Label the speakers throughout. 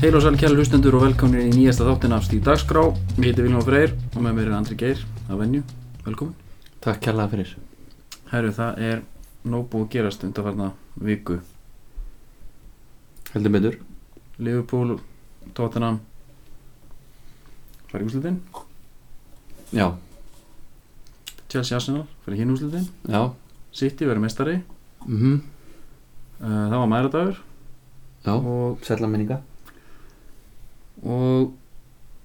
Speaker 1: Heil og sæl kæli hlustendur og velkominir í nýjasta þáttin af Stíð Dagskrá. Ég heiti Viljón Freyr og með mér er Andri Geir að venju. Velkomin.
Speaker 2: Takk kærlega fyrir
Speaker 1: Herru, það er nóg búið að gerast undanfarna viku.
Speaker 2: Heldur betur
Speaker 1: Liverpool, Tottenham, fara í úslitin.
Speaker 2: Já,
Speaker 1: Chelsea Arsenal, fara í hinn úslitin.
Speaker 2: já
Speaker 1: City verður mestari.
Speaker 2: mm
Speaker 1: Uh, það var mæðradagur
Speaker 2: Já,
Speaker 1: og,
Speaker 2: sætla minninga
Speaker 1: og,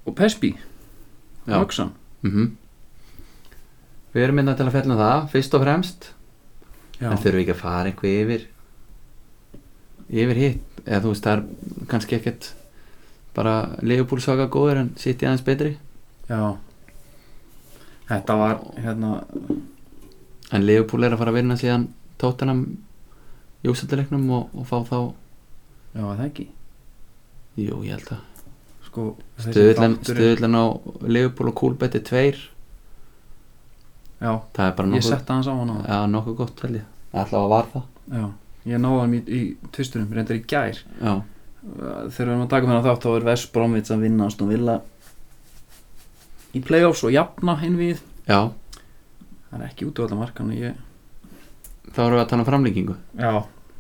Speaker 1: og Pesby,
Speaker 2: Já,
Speaker 1: Möksan.
Speaker 2: mm Við erum minna til að fjalla um það Fyrst og fremst
Speaker 1: Já,
Speaker 2: En þurfum við ekki að fara eitthvað yfir Yfir hitt Eða þú veist það er kannski ekkert Bara leifupúlsaka góður en sitt í aðeins betri
Speaker 1: já. Þetta var hérna,
Speaker 2: En leifupúl er að fara að vinna síðan Tóttanam Jósættileiknum og, og fá þá
Speaker 1: já var það ekki.
Speaker 2: Jú, ég held að
Speaker 1: Sko, þessi
Speaker 2: Stöðlan,
Speaker 1: þáttur er-
Speaker 2: stöðlan á leifupúl og kúlbetti tveir
Speaker 1: Já,
Speaker 2: Það er bara
Speaker 1: ég
Speaker 2: nokkuð
Speaker 1: setta hans á hann á
Speaker 2: Já, nokkuð gott held ég Alltaf að var það
Speaker 1: Já, ég náði hann í, í tvisturum, reyndar í gær
Speaker 2: Já,
Speaker 1: Uh, Þegar við erum að taka þennan þátt þá er Vest Bromvits að vinna Aston Villa í playoffs og jafna hinn við
Speaker 2: já
Speaker 1: Það er ekki út á alla markan ég...
Speaker 2: þá erum við að tala um framlíkingu
Speaker 1: Já,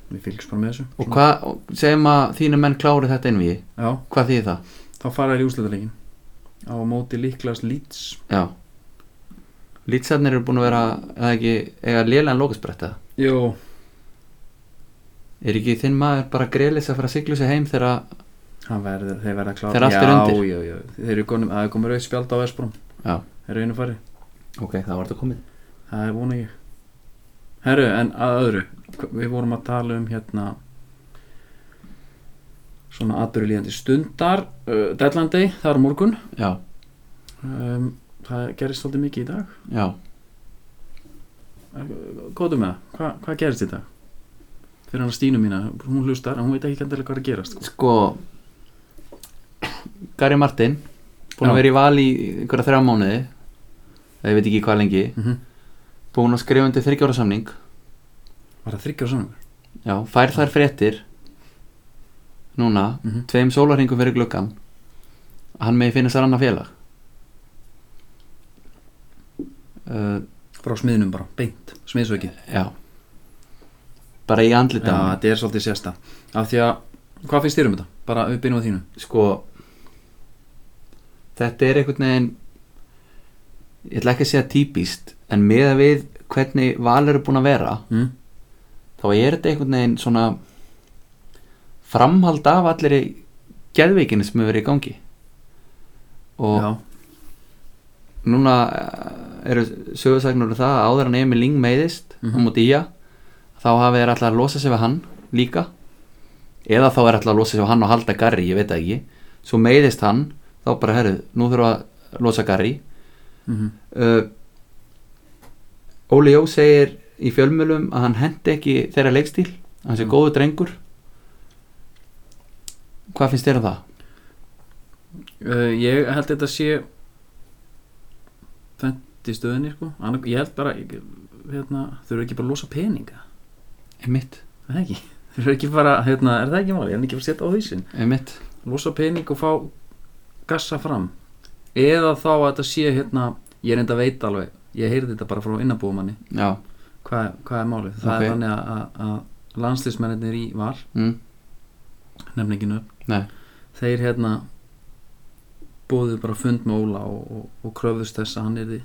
Speaker 1: við fylgjum bara með þessu
Speaker 2: Og hvað, og segjum að þínu menn klári þetta inn við
Speaker 1: Já,
Speaker 2: Hvað þýðir það?
Speaker 1: þá fara þær í úsletalegin á móti líklas Leeds
Speaker 2: Já Lítsarnir eru búin að vera, eða ekki, eiga lélegan lókusbretta
Speaker 1: Jó,
Speaker 2: Er ekki þinn maður bara greilis að fara að siglu sig heim þegar
Speaker 1: hann verður, þeir verða klár
Speaker 2: Þeir eru aftur
Speaker 1: já,
Speaker 2: undir.
Speaker 1: Já, já, þeir eru konum, það er komið rauð spjald á Vest Brom
Speaker 2: Já.
Speaker 1: Þeir eru einu fari,
Speaker 2: Ok, það var þetta komið
Speaker 1: það er vona ég Herru, en að öðru Við vorum að tala um hérna svona aðbyrjulíðandi stundar uh, Deadline Day, það er á morgun
Speaker 2: Já,
Speaker 1: um, Það gerist svolítið mikið í dag
Speaker 2: já
Speaker 1: Uh, Góðu með það, Hva, hvað gerist í dag? Fyrir hann Stínu mína, hún hlustar en hún veit ekki kendilega hvað er að gerast sko.
Speaker 2: Sko Gary Martin
Speaker 1: Já.
Speaker 2: Búin að vera í val í einhverja þrjá mánuði Eða ég veit ekki hvað lengi
Speaker 1: mm
Speaker 2: Búin að skrifa undir þryggjóra samning
Speaker 1: Var það þryggja á saman?
Speaker 2: Já, fær þær fréttir núna,
Speaker 1: Mm
Speaker 2: tveim sólarhingum fyrir gluggan að hann megi finna sér annað félag uh,
Speaker 1: Frá smiðnum bara, beint, smiðsöki
Speaker 2: Já bara í
Speaker 1: Já,
Speaker 2: andlita ja.
Speaker 1: þetta er svolítið sérsta Af því að, hvað finnst þér um þetta? Bara upp inn á þínu
Speaker 2: sko þetta er einhvern veginn ég ætla ekki að segja típist en með að við hvernig val eru búin að vera
Speaker 1: mm?
Speaker 2: þá er þetta einhvern veginn svona framhald af allir í geðveikinu sem hefur verið í gangi og
Speaker 1: Já,
Speaker 2: núna eh, eru sögursagnur um það að áður en Emil Ling meiðist
Speaker 1: Mhm.
Speaker 2: á móti í að þá hafi þeir alltaf að losa sig við hann líka eða þá er alltaf að losa sig við hann og halda Garri, ég veit það ekki svo meiðist hann, þá bara herru nú þurfum við að losa Garri
Speaker 1: mm
Speaker 2: uh, Óli Jó segir í fjölmjölum að hann hendi ekki þeirra leikstíl hann sé
Speaker 1: Mm.
Speaker 2: mm. góðu drengur hvað finnst þér um það?
Speaker 1: Uh, ég held þetta sé fendt í stöðinni sko. Annað, ég held bara ég- hérna, þau eru ekki bara að losa peninga
Speaker 2: Einmitt,
Speaker 1: er það ekki? Þau eru ekki bara, hérna, er það ekki máli? Ég er ekki bara að setja á hausinn
Speaker 2: einmitt
Speaker 1: losa pening og fá gassa fram eða þá að þetta sé hérna, ég er enda að veita alveg ég heyrði þetta bara frá innabúumanni
Speaker 2: Já,
Speaker 1: hvað, hvað er málið? Það
Speaker 2: Ok.
Speaker 1: er þannig að, að, að landslýsmennir í var
Speaker 2: mm.
Speaker 1: nefninginu upp
Speaker 2: nei,
Speaker 1: þeir hérna bóðu bara fund með Óla og, og, og kröfðust þess að hann er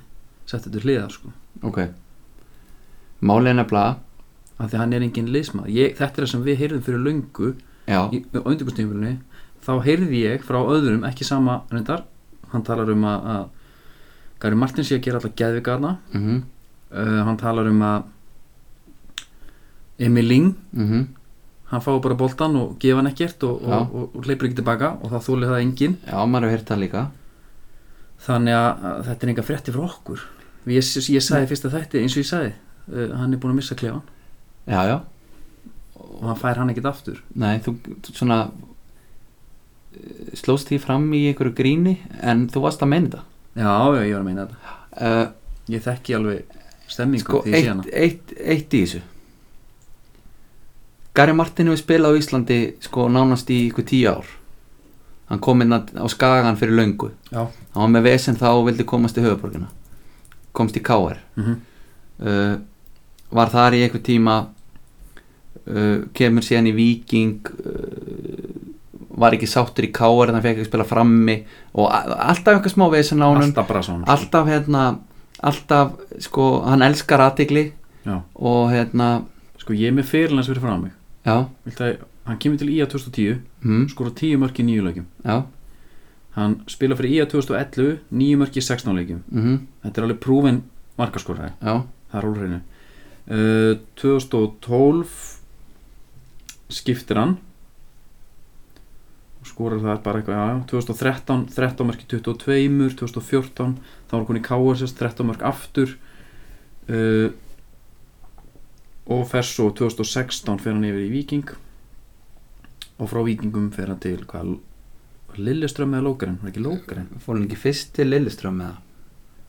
Speaker 1: settið til hliðar sko
Speaker 2: ok Málið er nefnilega
Speaker 1: af því að hann er engin liðsmað ég, þetta er það sem við heyrðum fyrir löngu
Speaker 2: Já,
Speaker 1: í undirbúrstíðumfélunni þá heyrði ég frá öðrum ekki sama reyndar hann talar um að, að Gary Martin sé að gera alltaf geðvikarna
Speaker 2: mhm mm
Speaker 1: uh, hann talar um að Emil Ling
Speaker 2: Mhm.
Speaker 1: hann fái bara boltan og gefa hann ekkert og,
Speaker 2: Já.
Speaker 1: og, og, og hleypur ekki tilbaka og það þúlið það engin
Speaker 2: Já, maður hefur heyrt það líka
Speaker 1: þannig að að þetta er enga frétti frá okkur ég, ég sagði fyrst að þetta eins og ég sagði uh, hann er búin að missa klefan
Speaker 2: Já, já,
Speaker 1: og hann fær hann ekkert aftur
Speaker 2: nei, þú þú svona eh, slóst því fram í einhverju gríni en þú varst að meina
Speaker 1: já, já, ég var að meina þetta
Speaker 2: þetta uh,
Speaker 1: ég þekki alveg stemmingu
Speaker 2: Sko,
Speaker 1: því ég sé
Speaker 2: eitt,
Speaker 1: hana
Speaker 2: eitt, eitt í þessu Gary Martin hefur spilað á Íslandi sko nánast í ykkur tíu ár hann kom inn á skagan fyrir löngu
Speaker 1: já,
Speaker 2: hann var með vesen þá og vildi komast í höfuborgina komst í KR
Speaker 1: mhm,
Speaker 2: uh, var þar í einhver tíma uh, kemur síðan í Viking uh, var ekki sáttur í KR þannig að fekk ekki spila frammi og a- alltaf eitthvað smá vesen á hann
Speaker 1: alltaf bara svona
Speaker 2: alltaf hérna alltaf sko hann elskar aðtigli
Speaker 1: já,
Speaker 2: og hérna
Speaker 1: sko ég er með feril hans fyrir frá mig
Speaker 2: já,
Speaker 1: Viltu að, hann kemur til IA 2010
Speaker 2: hm,
Speaker 1: skora 10 mörk í nýju leikjum
Speaker 2: já
Speaker 1: hann spila fyrir IA 2011 9 mörk í 16 leikjum
Speaker 2: mm
Speaker 1: þetta er alveg prúfin markaskorraði
Speaker 2: já,
Speaker 1: það er úr hreinu uh, 2012 skiptir hann og skorar það bara eitthvað já, já, 2013, 13 mörg í 22 2014, þá var hún í KSS 13 mörg aftur uh, og fer svo 2016 fer hann yfir í Viking og frá Vikingum fer hann til hvað, Lilleström eða Lókaren, var ekki Lókaren
Speaker 2: fór hann ekki fyrst til Lilleström með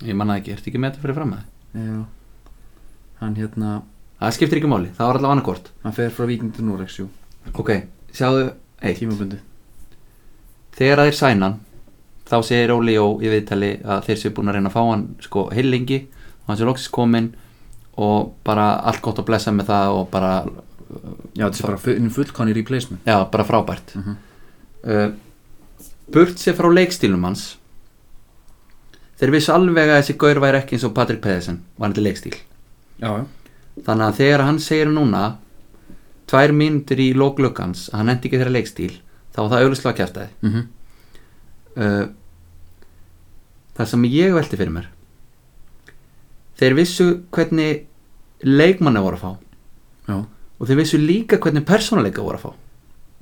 Speaker 2: það ég manna ekki, ertu ekki með þetta fyrir fram með það
Speaker 1: já hann hérna,
Speaker 2: það skiptir ekki máli, það var allavega annarkort
Speaker 1: hann fer frá Viking til Norex, jú,
Speaker 2: ok, sjáðu, eitt
Speaker 1: tímabundi
Speaker 2: þegar þeir sæna hann þá segir Óli Jó í viðtali að þeir séu búin að reyna að fá hann sko heilingi og hann sé loksist kominn og bara allt gott að blessa með það og bara,
Speaker 1: Já, þetta er bara full, fullkonni replacement
Speaker 2: já, bara frábært
Speaker 1: Mhm.
Speaker 2: uh, burt sér frá leikstílum hans þeir vissu alveg að þessi gaur væri ekki eins og Patrik Pedersen var hann til leikstíl
Speaker 1: Já, já,
Speaker 2: þannig að þegar hann segir núna tvær mínútur í lóklukkans hann endi ekki þeirra leikstíl þá var það auðvitað kjartaði
Speaker 1: mm
Speaker 2: uh, það sem ég velti fyrir mér þeir vissu hvernig leikmanna voru að fá
Speaker 1: já
Speaker 2: og þeir vissu líka hvernig persónuleika voru að fá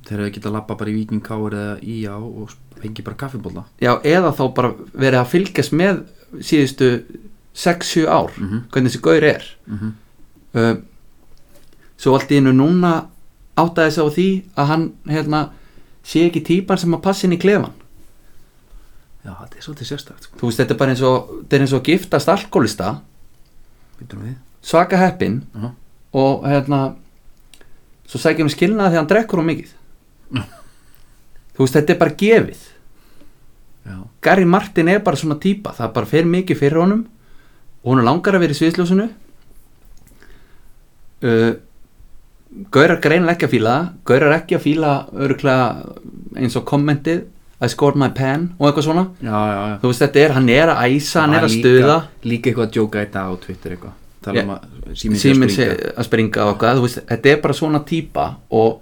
Speaker 1: Þegar þau geta lappa bara í Viking Káur eða IA og fengi bara kaffibólla
Speaker 2: já, eða þá bara verið að fylgjast með síðustu 6-7 ár
Speaker 1: Mhm.
Speaker 2: hvernig þessi gaur er
Speaker 1: mm -hmm.
Speaker 2: uh, svo allt í hennu núna áttaði sig á því að hann hérna, sé ekki típan sem að passa inn í klefan
Speaker 1: Já, þetta er svolítið sérstakt sko.
Speaker 2: þú veist, þetta er bara eins og, þetta er eins og að giftast alkoholista
Speaker 1: Veitum við
Speaker 2: svaka heppin
Speaker 1: Já.
Speaker 2: og hérna svo sækir hann skilnaði þegar hann drekkur hún mikið þú veist þetta er bara gefið
Speaker 1: Já,
Speaker 2: Gary Martin er bara svona típa það bara fer mikið fyrir honum og hún er langar að vera í sviðsljósinu uh, Gaurar greinilega ekki að fíla það Gaurar ekki að fíla örgulega eins og kommentið I scored my pen og eitthvað svona
Speaker 1: já, já, já.
Speaker 2: þú veist þetta er, hann er að æsa, hann er að
Speaker 1: Líka-
Speaker 2: stuða
Speaker 1: Líka eitthvað að djóka í dag á Twitter eitthvað Tala
Speaker 2: Já.
Speaker 1: um að síminn sé að
Speaker 2: síminn sé
Speaker 1: springa
Speaker 2: að springa og eitthvað, þú veist, þetta er bara svona típa og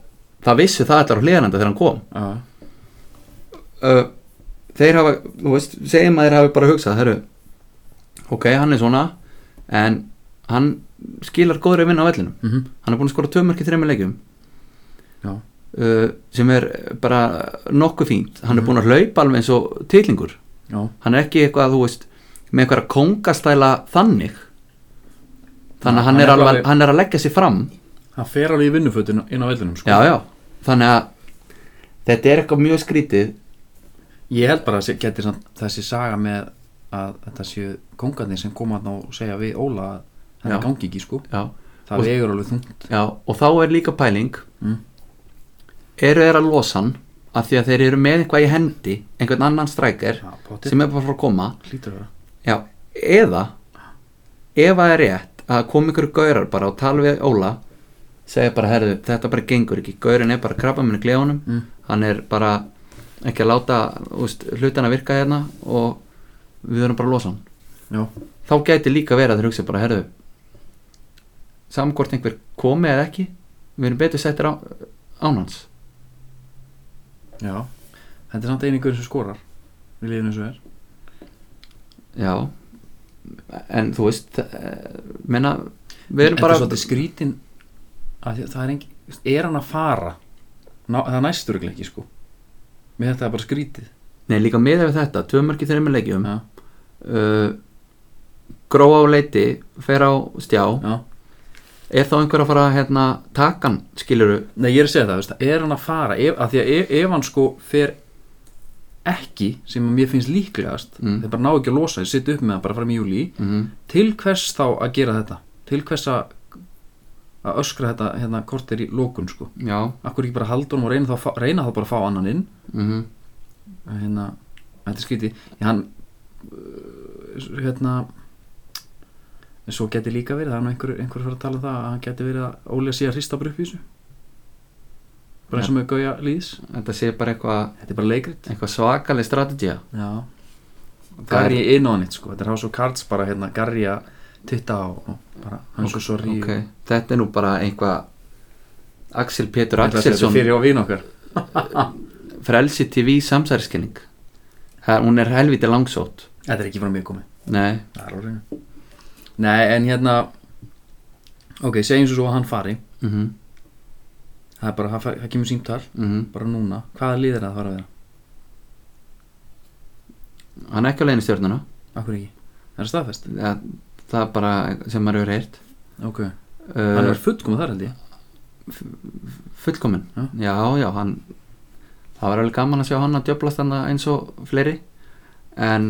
Speaker 2: það vissu það allar á hliðananda þegar hann kom
Speaker 1: Já,
Speaker 2: uh, þeir hafa, þú veist, segjum að þeir hafi bara hugsað, herru ok, hann er svona, en hann skilar góður að vinna á vellinum
Speaker 1: mm
Speaker 2: hann er búin að skora tvö mörki þreymur leikjum
Speaker 1: já,
Speaker 2: uh, sem er bara nokkuð fínt hann er búin að hlaupa alveg eins og titlingur
Speaker 1: já
Speaker 2: hann er ekki eitthvað, þú veist með einhverja kongastæla þannig þannig að hann,
Speaker 1: Hann
Speaker 2: er
Speaker 1: er
Speaker 2: alveg,
Speaker 1: alveg-
Speaker 2: hann er að leggja sér fram
Speaker 1: Hann fer alveg í vinnufötin inn á vellinum sko.
Speaker 2: já, já, þannig að þetta er eitthvað mjög skrítið
Speaker 1: Ég held bara að sé- geti samt þessi saga með að þetta séu kongarnir sem koma þarna og segja við Óla að hann
Speaker 2: Já.
Speaker 1: gangi ekki sko
Speaker 2: já,
Speaker 1: Það
Speaker 2: Og-
Speaker 1: vegur alveg þungt
Speaker 2: já, og þá er líka pæling
Speaker 1: Mm.
Speaker 2: eru þeir að losa hann af því að þeir eru með eitthvað í hendi einhvern annan strækir
Speaker 1: Já, potið
Speaker 2: sem er bara frá að koma
Speaker 1: Hlýtur að vera
Speaker 2: já, eða ef það er rétt að koma ykkur gaurar bara og tala við Óla segja bara, herðu, þetta bara gengur ekki gaurin er bara að krabba minni gleðunum
Speaker 1: Mm.
Speaker 2: hann er bara ekki að láta úst, hlutana virka hérna og við erum bara að losa hann
Speaker 1: Já,
Speaker 2: þá gæti líka verið að þeir hugsa bara herðu samkvort einhver komi eða ekki við erum betur settir á, án hans
Speaker 1: já Þetta er samt einingur sem skorar Við liðinu svo er
Speaker 2: já en þú veist eh, meina, við erum bara
Speaker 1: Þetta er svolítið skrítin að því- Það er engin Er hann að fara? Ná, það næstur ekki sko Mér þetta er bara skrítið
Speaker 2: nei, líka með ef þetta, tvö mörki þreymur leikjum
Speaker 1: Já,
Speaker 2: uh, gróa á leiti fer á stjá
Speaker 1: já
Speaker 2: er þá einhver að fara að hérna, taka hann skiluru
Speaker 1: Nei, ég er að segja það, veist, það, er hann að fara ef, að Því að ef, ef hann sko fer ekki sem að mér finnst líklegast
Speaker 2: Mm.
Speaker 1: þeir bara ná ekki að losa, þeir sitt upp með það bara fram í júli
Speaker 2: mm
Speaker 1: til hvers þá að gera þetta til hvers að að öskra þetta hérna kortir í lókun sko
Speaker 2: já
Speaker 1: Akkur ekki bara halda honum og reyna þá, að fá- reyna þá bara að fá annan inn
Speaker 2: mm
Speaker 1: að hérna, þetta er skríti já, hann uh, hérna en svo geti líka verið, það er nú einhver, einhver að fara að tala um það að hann geti verið að Óli að sé að hrista bara upp í þessu bara eins og með Gauja Lýðs
Speaker 2: Þetta sé bara eitthvað
Speaker 1: þetta er bara leikrit
Speaker 2: eitthva svakaleg strategía
Speaker 1: já. Garri inn á hann sko. þetta er House of Cards bara hérna, Garri að titta á og bara, hann er svo sorry
Speaker 2: Ok,
Speaker 1: og-
Speaker 2: þetta er nú bara einhvað Axel Pétur
Speaker 1: Ég ætla að setja þetta
Speaker 2: Axelsson
Speaker 1: fyrir og vín okkar
Speaker 2: Frelsi TV samsæriskenning Það- Hún er helviti langsótt
Speaker 1: þetta er ekki frá mér komið
Speaker 2: Nei,
Speaker 1: Það er á hreinu. Nei, en hérna Ok, segjum svo að hann fari
Speaker 2: mhm, mhm
Speaker 1: Það er bara, það, fær, það kemur símtal Bara núna, hvaða lið er það að fara að vera?
Speaker 2: Hann er ekki á leiðin í stjórnuna
Speaker 1: Akkur ekki, það er staðfest
Speaker 2: það, það er bara sem maður hefur heyrt
Speaker 1: Ok, hann
Speaker 2: uh,
Speaker 1: er fullkomið þar held ég
Speaker 2: Fullkomin
Speaker 1: Já.
Speaker 2: Já, já, hann Það var alveg gaman að sjá hann að djöflast hann eins og fleiri En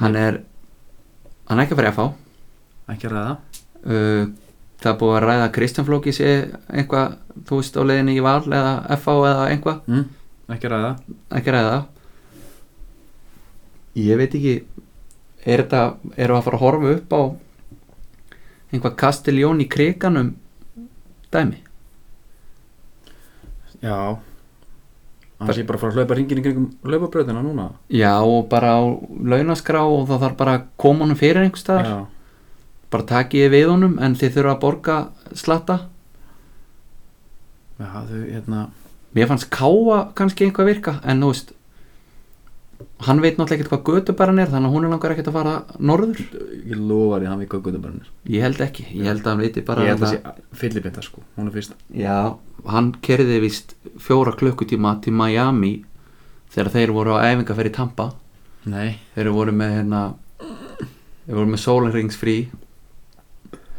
Speaker 2: Hann er Hann er ekki að fara í að fá
Speaker 1: Ekki að ræða
Speaker 2: uh, það er búið að ræða að Kristján Flóki sé einhvað, þú veist, á leiðinni í val eða FH eða einhvað,
Speaker 1: mm? Ekki að ræða
Speaker 2: ekki ræða það ég veit ekki er þetta, erum við að fara að horfa upp á einhvað Kastiljón í kriganum dæmi
Speaker 1: Já Hann sé bara að fara að hlaupa ringin í kringum Hlaupabröðina núna
Speaker 2: já og bara á launaskrá og það þarf bara að koma honum fyrir einhvers staðar,
Speaker 1: Já,
Speaker 2: bara takið þið við honum en þið þurfa að borga slatta
Speaker 1: já þau, hérna
Speaker 2: Mér fannst Káa kannski einhvað virka en þú veist hann veit náttúrulega ekkert hvað Götubaran er þannig að hún er langar ekkert að fara norður
Speaker 1: Ég lofa því að hann við göggutum bara nýr
Speaker 2: Ég held ekki, ég held að hann viti bara
Speaker 1: Ég held að
Speaker 2: að-
Speaker 1: sé fyllibinda sko Hún er fyrst
Speaker 2: Já, hann kerði vist fjóra klukkutíma til Miami þegar þeir voru á æfinga fyrir Tampa
Speaker 1: Nei
Speaker 2: þeir voru með hérna þeir voru með sólarringsfrí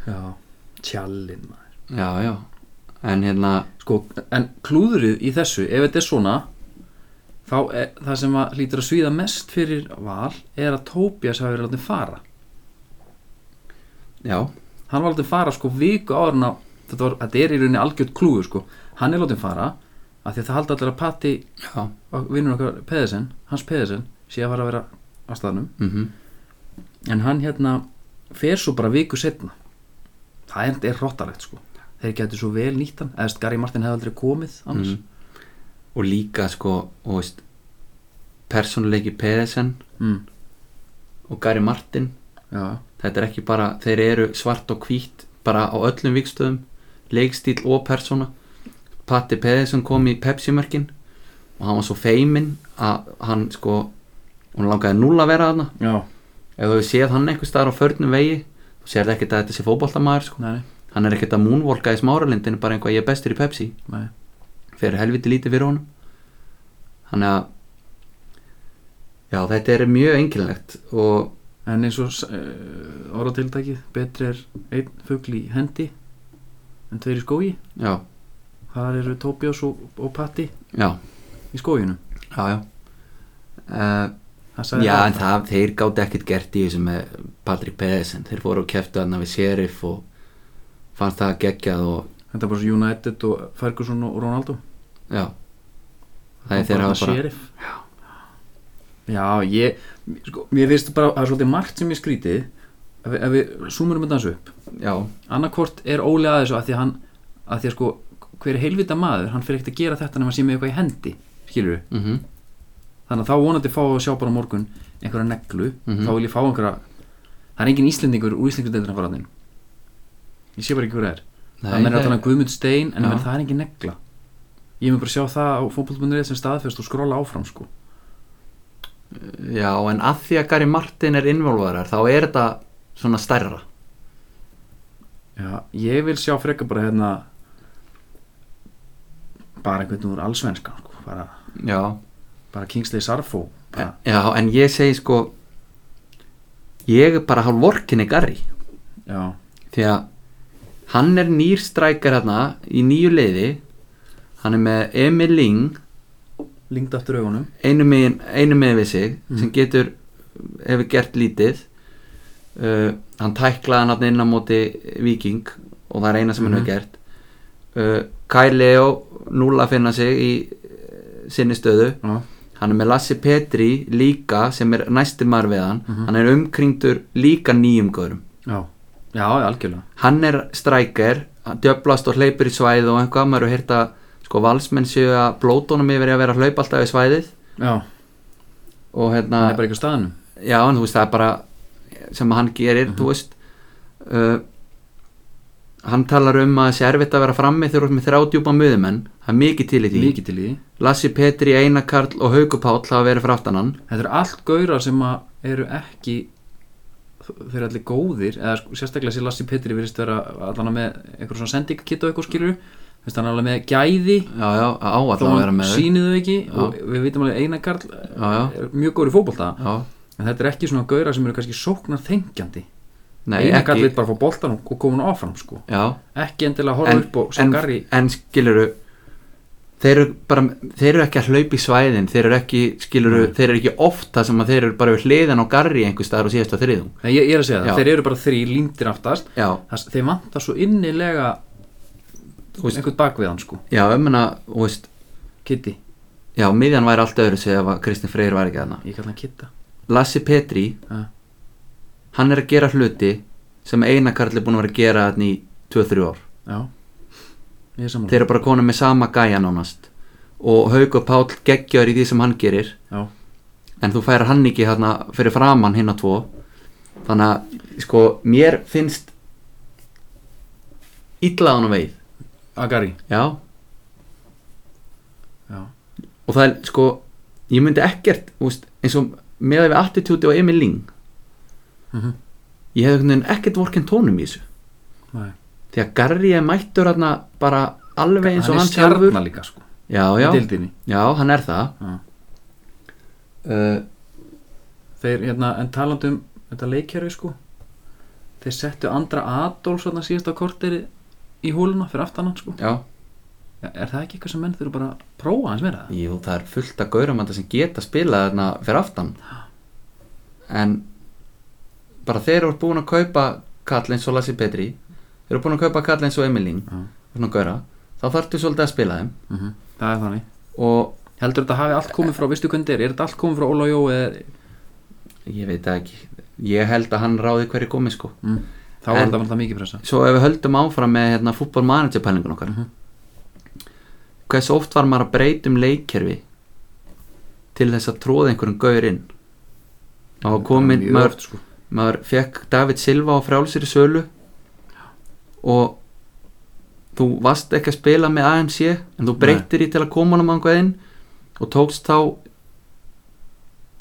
Speaker 1: Já, tjallinn maður
Speaker 2: Já, já, en hérna
Speaker 1: Sko, en klúðrið í þessu, ef þetta er svona þá er það sem að hlýtur að svíða mest fyrir val er að Tóbías hafi verið látið fara
Speaker 2: já,
Speaker 1: hann var látið fara sko viku áður en að þetta, var, þetta er í rauninni algjörð klúður sko hann er látið fara af því að það haldi allir að patti
Speaker 2: já
Speaker 1: vinnur okkar Peðisen, hans Peðisen sé að fara að vera á staðnum
Speaker 2: mm
Speaker 1: en hann hérna fer svo bara viku setna það er, er rottalegt sko þeir getur svo vel nýtt hann eða Gary Martin hefði aldrei komið annars
Speaker 2: Mhm. og líka sko og veist persónuleiki Pedersen
Speaker 1: mm.
Speaker 2: og Gary Martin
Speaker 1: Já,
Speaker 2: þetta er ekki bara, þeir eru svart og hvítt bara á öllum vikstöðum leikstíl og persóna Patti Pedersen kom í Pepsi-mörkin og hann var svo feiminn að hann sko hún langaði núl að vera þarna
Speaker 1: já,
Speaker 2: ef þú hefur séð hann einhver staðar á förnum vegi þú sér ekkert að þetta sé fótboltamaður sko.
Speaker 1: nei,
Speaker 2: hann er ekkert að moonwalka í smáralindinu bara einhvað ég er bestur í Pepsi
Speaker 1: nei
Speaker 2: fyrir helviti lítið fyrir honum þannig að já þetta er mjög einkilnlegt og
Speaker 1: En eins og uh, orðatiltækið betri er einn fugl í hendi en tveir í skói
Speaker 2: já,
Speaker 1: þar eru Tobias og, og Patti
Speaker 2: já,
Speaker 1: í skóginum
Speaker 2: já, já. Uh,
Speaker 1: Það sagði
Speaker 2: já en
Speaker 1: það.
Speaker 2: það, þeir gátt ekkert gert í þessu með Patrick Pedersen þeir fóru og keftu hann við Sheriff og fannst það geggjað og
Speaker 1: Þetta er bara svo United og Ferguson og Ronaldo
Speaker 2: já það er þeir
Speaker 1: bara
Speaker 2: hafa bara
Speaker 1: sheriff. Já, ég sko, mér finnst bara, það er svolítið margt sem ég skrítið ef, við- ef við súmurum þetta þessu upp
Speaker 2: já,
Speaker 1: annarkvort er ólega að þessu að því að hann að því að sko, hver helvita maður hann fyrir ekkert að gera þetta nema að sé með eitthvað í hendi skilur við
Speaker 2: mhm,
Speaker 1: þannig að þá vonandi fá að sjá bara á morgun einhverja neglu,
Speaker 2: Mhm.
Speaker 1: þá vil ég fá einhverja það er engin Íslendingur úr Íslendingur að fara þinn ég sé bara ekki hverja er
Speaker 2: Nei,
Speaker 1: það meina
Speaker 2: það-
Speaker 1: alltaf hann Guðmund Stein en
Speaker 2: Já.
Speaker 1: ja. það er engin negla ég mun bara sjá það á fótbollbundur sem staðfest og skrolla áfram sko
Speaker 2: já en að því að Gary Martin er involvarar þá er þetta svona stærra
Speaker 1: Já, ég vil sjá frekar bara hérna bara einhvern úr allsvenskan sko. bara,
Speaker 2: já,
Speaker 1: bara Kingsley Sarfo bara,
Speaker 2: Já, en ég segi sko ég er bara hálf vorkinni Garri
Speaker 1: já,
Speaker 2: því að hann er nýr strækar hérna í nýju leiði hann er með Emil Ling
Speaker 1: lingd aftur augunum
Speaker 2: einu megin, einu megin við sig
Speaker 1: Mm.
Speaker 2: sem getur, hefur gert lítið uh, hann tæklaði hann þarna inn á móti Viking og
Speaker 1: Mm.
Speaker 2: það er eina sem hann hefur gert uh, Kyle Leo núla að finna sig í eh, sinni stöðu
Speaker 1: já,
Speaker 2: hann er með Lassi Petri líka sem er næstir maður við hann
Speaker 1: Mhm.
Speaker 2: hann er umkringdur líka nýjum góðurum
Speaker 1: já, já, algjörlega
Speaker 2: hann er strækir, hann djöblast og hleypur í svæðið og eitthvað, maður hefur heyrt að sko valsmenn séu að blótonum yfir í að vera að hlaupa alltaf í svæðið
Speaker 1: Já,
Speaker 2: Ah. og hérna
Speaker 1: hann er bara ekki á staðnum
Speaker 2: já, en þú veist, það er bara sem hann gerir, þú veist uh, hann talar um að þessi erfitt að vera frammi þegar þú ert með þrjá djúpa möðumenn, það er mikið til í því
Speaker 1: Mikið til í því
Speaker 2: Lassi Petri, Einar Karl og Haukupáll hafa verið fyrir aftan hann
Speaker 1: Þetta eru allt gaurar sem að eru ekki þeir eru allir góðir eða sko, sérstaklega sér Lassi Petri virðist vera allan að með einhver svona sendingkitt og eitthvað skilur þannig að hann er alveg með gæði
Speaker 2: já, já, á
Speaker 1: þó
Speaker 2: alltaf að vera
Speaker 1: hann
Speaker 2: með þau
Speaker 1: sýnið þau ekki
Speaker 2: Já.
Speaker 1: og við vitum alveg Einar Karl
Speaker 2: já, já,
Speaker 1: er mjög góður í fótbolta
Speaker 2: já,
Speaker 1: en þetta er ekki svona gaurar sem eru kannski sóknar þengjandi
Speaker 2: nei,
Speaker 1: Einar Karl vil
Speaker 2: ekki
Speaker 1: bara fá boltan og koma hann áfram sko
Speaker 2: já,
Speaker 1: ekki endilega horfa
Speaker 2: En-
Speaker 1: upp og sjá
Speaker 2: en,
Speaker 1: Garri
Speaker 2: en skiluru þeir eru bara, þeir eru ekki að hlaupa í svæðin þeir eru ekki, skiluru,
Speaker 1: Nei.
Speaker 2: þeir eru ekki ofta sem að þeir eru bara við hliðan á Garri einhver staðar og síðast á þriðum
Speaker 1: Nei, ég, ég er að segja það,
Speaker 2: Já.
Speaker 1: þeir eru bara þrý líndir aftast
Speaker 2: já,
Speaker 1: Það- þeir vantar svo innilega
Speaker 2: Þú veist-
Speaker 1: einhvern bakviðan sko,
Speaker 2: já, ég menna, þú veist
Speaker 1: Kitty
Speaker 2: já, miðjan væri allt öðru sem ef að Kristinn Freyr væri ekki þarna
Speaker 1: ég kalla hann Kitta
Speaker 2: Lassi Petri,
Speaker 1: Já.
Speaker 2: hann er að gera hluti sem Einar Karl er búin að vera að gera þarna í 2-3 ár
Speaker 1: Já, ég er
Speaker 2: þeir
Speaker 1: samanlega
Speaker 2: eru bara konum með sama gæja nánast og Haukur Páll geggjör í því sem hann gerir
Speaker 1: Já,
Speaker 2: en þú færir hann ekki þarna fyrir framann hinn á tvo þannig að sko mér finnst illa á hann veið
Speaker 1: Agari
Speaker 2: já
Speaker 1: Já,
Speaker 2: og það er sko ég myndi ekkert þú veist, eins og með að við attitúti og Emil Ling
Speaker 1: Mhm.
Speaker 2: ég hefði einhvern veginn ekkert vorkinn tónum í þessu
Speaker 1: nei
Speaker 2: því að Garri er mættur þarna bara alveg eins og
Speaker 1: er
Speaker 2: hann sjálfur
Speaker 1: stjarnar líka sko
Speaker 2: já,
Speaker 1: í
Speaker 2: já,
Speaker 1: deildinni
Speaker 2: já, hann er það
Speaker 1: Já.
Speaker 2: uh,
Speaker 1: Þeir, hérna, en talandi um þetta leikjörfi sko Þeir settu andra Adolfs þarna síðasta korteri í hóluna fyrir aftan hann sko
Speaker 2: já
Speaker 1: Já, Er það ekki eitthvað sem menn þurfa bara að prófa hans meira það?
Speaker 2: Jú, það er fullt af gauramanda sem geta spilað þarna fyrir aftan en bara þeir eru búin að kaupa kall eins og Lassi Petri þeir eru búin að kaupa kall eins og Emilín
Speaker 1: Já.
Speaker 2: og svona gaura, þá þarftu svolítið að spila þeim
Speaker 1: Mm Það er þannig
Speaker 2: og
Speaker 1: Heldur þetta hafi allt komið frá, veistu hvernig þetta er? Er þetta allt komið frá Óla Jó eða
Speaker 2: ég veit það ekki ég held að hann ráði hverju komi sko
Speaker 1: mm, Þá er
Speaker 2: En-
Speaker 1: þetta alltaf mikið pressa
Speaker 2: svo ef við höldum áfram með hérna, fútbolmanagerpælingun okkar
Speaker 1: Mhm.
Speaker 2: hversu oft var maður að breyta um leikkerfi til þess að tróða einhverjum gaur inn og komin,
Speaker 1: Mm, Mjög
Speaker 2: maður,
Speaker 1: oft, sko.
Speaker 2: maður fekk David Silva á frjálsir í sölu og þú varst ekki að spila með AMC en þú
Speaker 1: Nei.
Speaker 2: breytir í til að koma hann á inn og tókst þá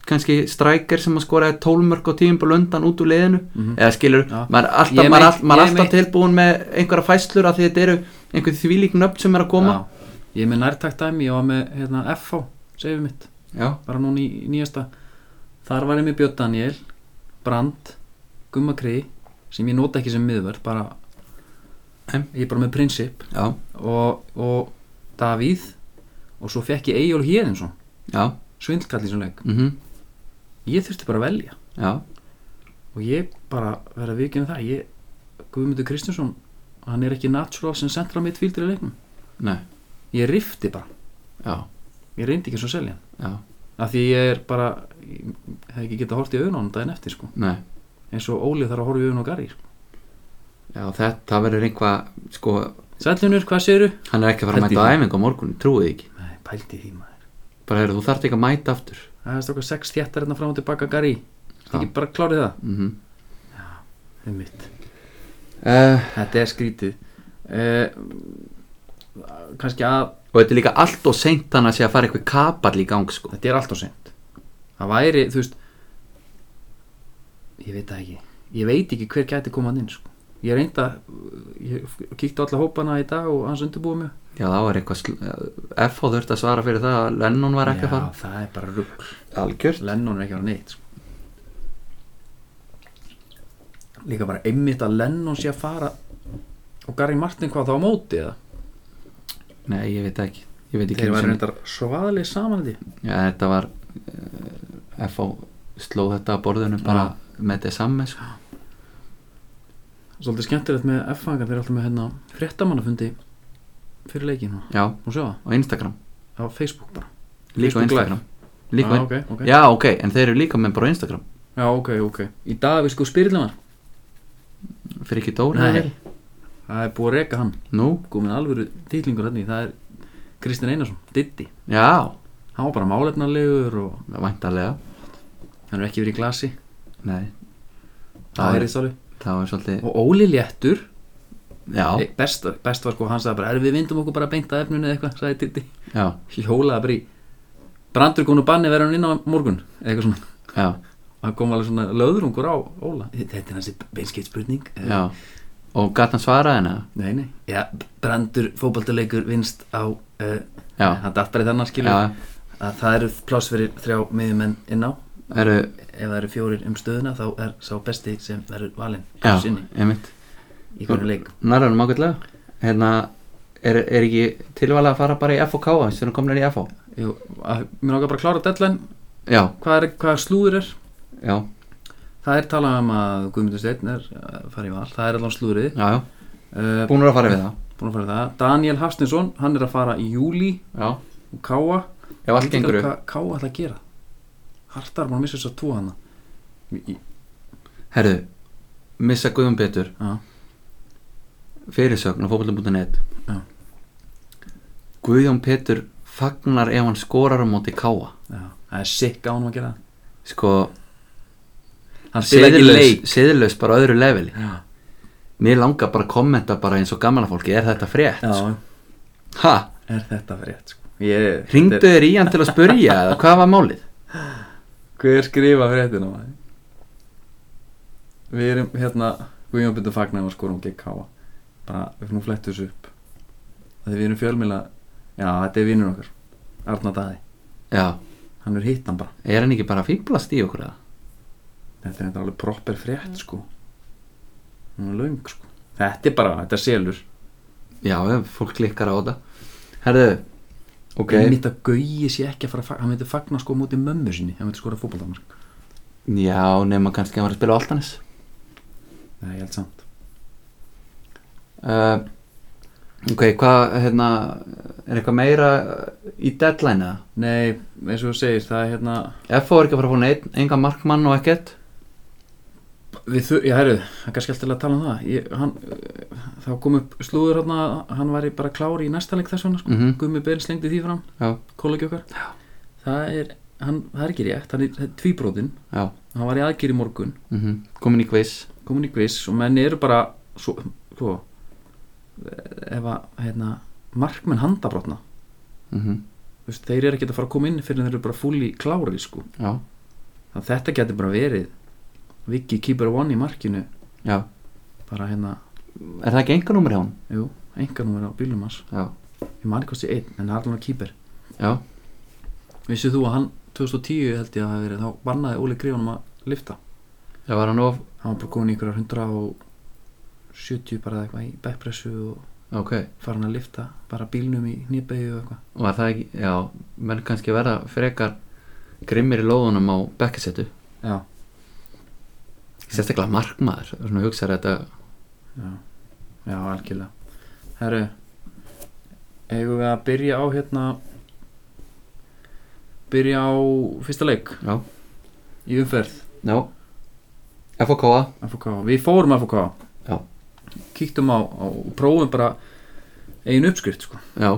Speaker 2: kannski strækir sem að skoraði tólmörk á tíumbul undan út úr liðinu
Speaker 1: Mhm.
Speaker 2: eða skilur,
Speaker 1: Já.
Speaker 2: maður er alltaf,
Speaker 1: Ég
Speaker 2: maður
Speaker 1: meit-
Speaker 2: all, maður
Speaker 1: ég
Speaker 2: alltaf
Speaker 1: meit-
Speaker 2: tilbúin með einhverja fæslur af því þetta eru einhver þvílík nöfn sem er að koma
Speaker 1: Já, ég er með nærtakt dæmi, ég var með hérna, FH, segið mitt,
Speaker 2: já,
Speaker 1: bara núna í, í nýjasta þar var ég með Björn Daniel Brand, Gumma Kri sem ég nota ekki sem miðvörð bara,
Speaker 2: Em.
Speaker 1: ég er bara með prinsip
Speaker 2: já,
Speaker 1: og, og Davíð og svo fekk ég Eyjól Héðinsson
Speaker 2: já,
Speaker 1: svindlkall í svona leik
Speaker 2: mhm,
Speaker 1: ég þurfti bara að velja
Speaker 2: já
Speaker 1: og ég bara verið að vikið um það ég, Guðmundur Kristinsson hann er ekki natural sem central midfielder í leiknum
Speaker 2: nei,
Speaker 1: ég rifti bara,
Speaker 2: já,
Speaker 1: ég reyndi ekki svo að selja hann
Speaker 2: já,
Speaker 1: að því ég er bara ég hef ekki getað hort í augun á hann daginn eftir sko.
Speaker 2: nei
Speaker 1: eins og Óli þarf að horfa í augun á Garri sko.
Speaker 2: já, þetta verður einhvað, sko
Speaker 1: Sælunur, hvað séru?
Speaker 2: hann er ekki að fara að
Speaker 1: Held ég
Speaker 2: mæta á
Speaker 1: það.
Speaker 2: æfingu á morgun, trúið ekki
Speaker 1: Nei, pældi því maður
Speaker 2: bara heyrðu, þú þarft ekki að mæta aftur
Speaker 1: Það er strákar sex þjættar hérna fram og tilbaka Garri ekki bara klárið það
Speaker 2: mhm,
Speaker 1: Það er mitt
Speaker 2: uh,
Speaker 1: Þetta er skrítið eh, kannski að
Speaker 2: og þetta er líka allt og seint þannig að sé að fara eitthvað kapall í gang, sko
Speaker 1: þetta er alltaf sent það væri, þú veist ég veit það ekki ég veit ekki hver gæti komað inn sko. ég reynda ég kíkti á alla hópana í dag og hans undirbúið mjög
Speaker 2: já, þá er eitthvað, sl- eh, FH þurft að svara fyrir það að Lennon var ekki að
Speaker 1: Já,
Speaker 2: fara
Speaker 1: það er bara rugg
Speaker 2: algjört,
Speaker 1: Lennon er ekki að vera neitt sko. líka bara einmitt að Lennon sé að fara og Gary Martin hvað þá á móti eða
Speaker 2: nei, ég veit ekki ég veit ekki
Speaker 1: þeir
Speaker 2: einu
Speaker 1: var
Speaker 2: sinni-
Speaker 1: reyndar svaðaleg saman að því
Speaker 2: Já, þetta var uh, FH sló þetta að borðinu bara
Speaker 1: Ah.
Speaker 2: með þetta samme sko.
Speaker 1: svolítið skemmtilegt með F-fangan þeir eru alltaf með hérna fréttamannafundi fyrir leikinu
Speaker 2: Já,
Speaker 1: og sjá það
Speaker 2: á Instagram
Speaker 1: á Facebook bara
Speaker 2: Líka á
Speaker 1: Facebook
Speaker 2: Instagram líka
Speaker 1: ah,
Speaker 2: á,
Speaker 1: okay, okay.
Speaker 2: Já, ok, en þeir eru líka með bara á Instagram
Speaker 1: Já, ok, ok Í dag við sko spyrlanar
Speaker 2: Fyrir ekki Dóri
Speaker 1: Nei.
Speaker 2: vel?
Speaker 1: Það er búið að reka hann
Speaker 2: Nú,
Speaker 1: Gómið alvöru titlingur hann í Það er Kristinn Einarsson, Diddi
Speaker 2: já,
Speaker 1: Hann var bara málefnarlegur og
Speaker 2: væntalega
Speaker 1: hann er ekki verið í glasi
Speaker 2: Nei
Speaker 1: Það
Speaker 2: Það
Speaker 1: er
Speaker 2: er,
Speaker 1: í sálu
Speaker 2: það er svolítið
Speaker 1: Og Óli Léttur
Speaker 2: Já,
Speaker 1: e, best, best var sko, hann sagði bara "Er, Við vindum okkur bara beint að efninu eða eitthvað Sagði Diddi
Speaker 2: já,
Speaker 1: Hjólaði bara í Brandur konu banni verður hann inn á morgun eða Eitthvað svona
Speaker 2: já,
Speaker 1: Það kom alveg svona löðrungur á Óla Þetta er hansi beinskeitt spurning eh,
Speaker 2: já Og gat hann svarað henni?
Speaker 1: Nei, nei Já, brandur fótballtuleikur vinst á uh,
Speaker 2: Já.
Speaker 1: Hann datt bara í þannig skilur
Speaker 2: Já,
Speaker 1: að það eru pláss fyrir þrjá miðjumenn inn á
Speaker 2: eru,
Speaker 1: Ef það eru fjórir um stöðuna þá er sá besti sem verður valinn
Speaker 2: já,
Speaker 1: á sinni
Speaker 2: einmitt
Speaker 1: í hverju leik
Speaker 2: Nærðanum ágætlega Hérna, er, er ekki tilvalega að fara bara í FOK þess að hann komnir í FO?
Speaker 1: Jú, að, Mér náttúrulega bara að klára deadline
Speaker 2: Já,
Speaker 1: hvað, er, hvað slúður er
Speaker 2: já,
Speaker 1: Það er talað um að Guðmundur Steinn er að fara í val Það er allan slúðrið
Speaker 2: já, já,
Speaker 1: uh,
Speaker 2: búnur að fara við það
Speaker 1: Búin að fara í það Daniel Hafstinsson, hann er að fara í júli
Speaker 2: Já,
Speaker 1: og Káa
Speaker 2: ef allt gengur upp
Speaker 1: Hvað Káa ætla að gera Hartar, maður missa þess að tvo hana Í- í-
Speaker 2: Herðu, missa Guðum Petur
Speaker 1: Já,
Speaker 2: fyrirsögn á fókbaltum.net
Speaker 1: Já.
Speaker 2: Guðjón Petur fagnar ef hann skorar á móti káa
Speaker 1: já Það er sikk á hann að gera það
Speaker 2: sko,
Speaker 1: Hann spilaði ekki leik
Speaker 2: seðurlaus bara á öðru leveli
Speaker 1: Já,
Speaker 2: mér langar bara að kommenta bara eins og gamla fólki er þetta frétt?
Speaker 1: já
Speaker 2: Sko? ha,
Speaker 1: Er þetta fyrir rétt sko? Ég,
Speaker 2: ringdu þér í hann til að spurja eða hvað var málið?
Speaker 1: Hver skrifa fyrir þetta nú? Við erum hérna Guðjón byrja fagnar og skorum gegn káa Bara, við fyrir nú flettu þessu upp Þegar við erum fjölmila Já, þetta er vinnur okkar Arna Daði,
Speaker 2: já,
Speaker 1: hann er hittan bara
Speaker 2: er hann ekki bara að fíblast í okkur eða?
Speaker 1: Þetta er þetta alveg proper frétt sko Hún er löng sko Þetta er bara, þetta er selur
Speaker 2: já, ef fólk klikkar á þetta herðu, ok
Speaker 1: Einmitt að Gauji sé ekki að fara að fagna Hann myndi fagna sko á móti mömmu sinni Hann myndi skora fótboldamark
Speaker 2: já, nema kannski að hann var að spila á Altanis
Speaker 1: Nei, ég held samt
Speaker 2: uh, ok, hvað hérna, er eitthvað meira uh, í deadline eða?
Speaker 1: Nei, eins og þú segir, það er hérna
Speaker 2: FO er ekki að fara að fá neitt, enga markmann og ekkert
Speaker 1: Við þau, já, herru, það er kannski alltaf að tala um það ég, hann, eh, þá kom upp slúður hann að hann væri bara klár í næsta leik þess vegna, sko,
Speaker 2: Mhm.
Speaker 1: Gummi Ben slengdi því fram
Speaker 2: Já.
Speaker 1: kollegi okkar
Speaker 2: Já.
Speaker 1: það er, hann, það er ekki rétt, hann er tvíbróðinn
Speaker 2: Já,
Speaker 1: hann var í aðgeri morgun,
Speaker 2: mm komin í kviss
Speaker 1: komin í quiz og menni eru bara, svo, svo ef að, hérna markmenn handabrotna,
Speaker 2: mm
Speaker 1: þú veist, þeir eru ekki að fara að koma inn fyrir þeir eru bara fulli klári, sko
Speaker 2: Já,
Speaker 1: þannig að þetta getur bara verið Viki Keeper One í markinu
Speaker 2: já
Speaker 1: bara hérna,
Speaker 2: Er það ekki enga númer hjá hún?
Speaker 1: jú, enganúmer á bílum hans
Speaker 2: Já,
Speaker 1: ég man ekki hvort sé einn, en það er allan að kýper
Speaker 2: já,
Speaker 1: vissið þú að hann 2010 held ég að hafa verið þá bannaði Óli Gríðanum að lifta
Speaker 2: já var hann of
Speaker 1: hann var bara komin í einhverjar 170 bara eða eitthvað í backpressu og
Speaker 2: Ok,
Speaker 1: farin að lifta bara bílnum í nýbegju og eitthvað
Speaker 2: var það ekki, já menn kannski verða frekar grimmir í lóðunum á bekkisettu
Speaker 1: já,
Speaker 2: Sérstaklega markmaður, svona hugsaður þetta
Speaker 1: já, já, algjörlega herru eigum við að byrja á hérna byrja á fyrsta leik
Speaker 2: Já,
Speaker 1: í umferð
Speaker 2: já FOK
Speaker 1: FK, við fórum FK
Speaker 2: Já.
Speaker 1: kíktum á, á og prófum bara einu uppskrift sko
Speaker 2: Já,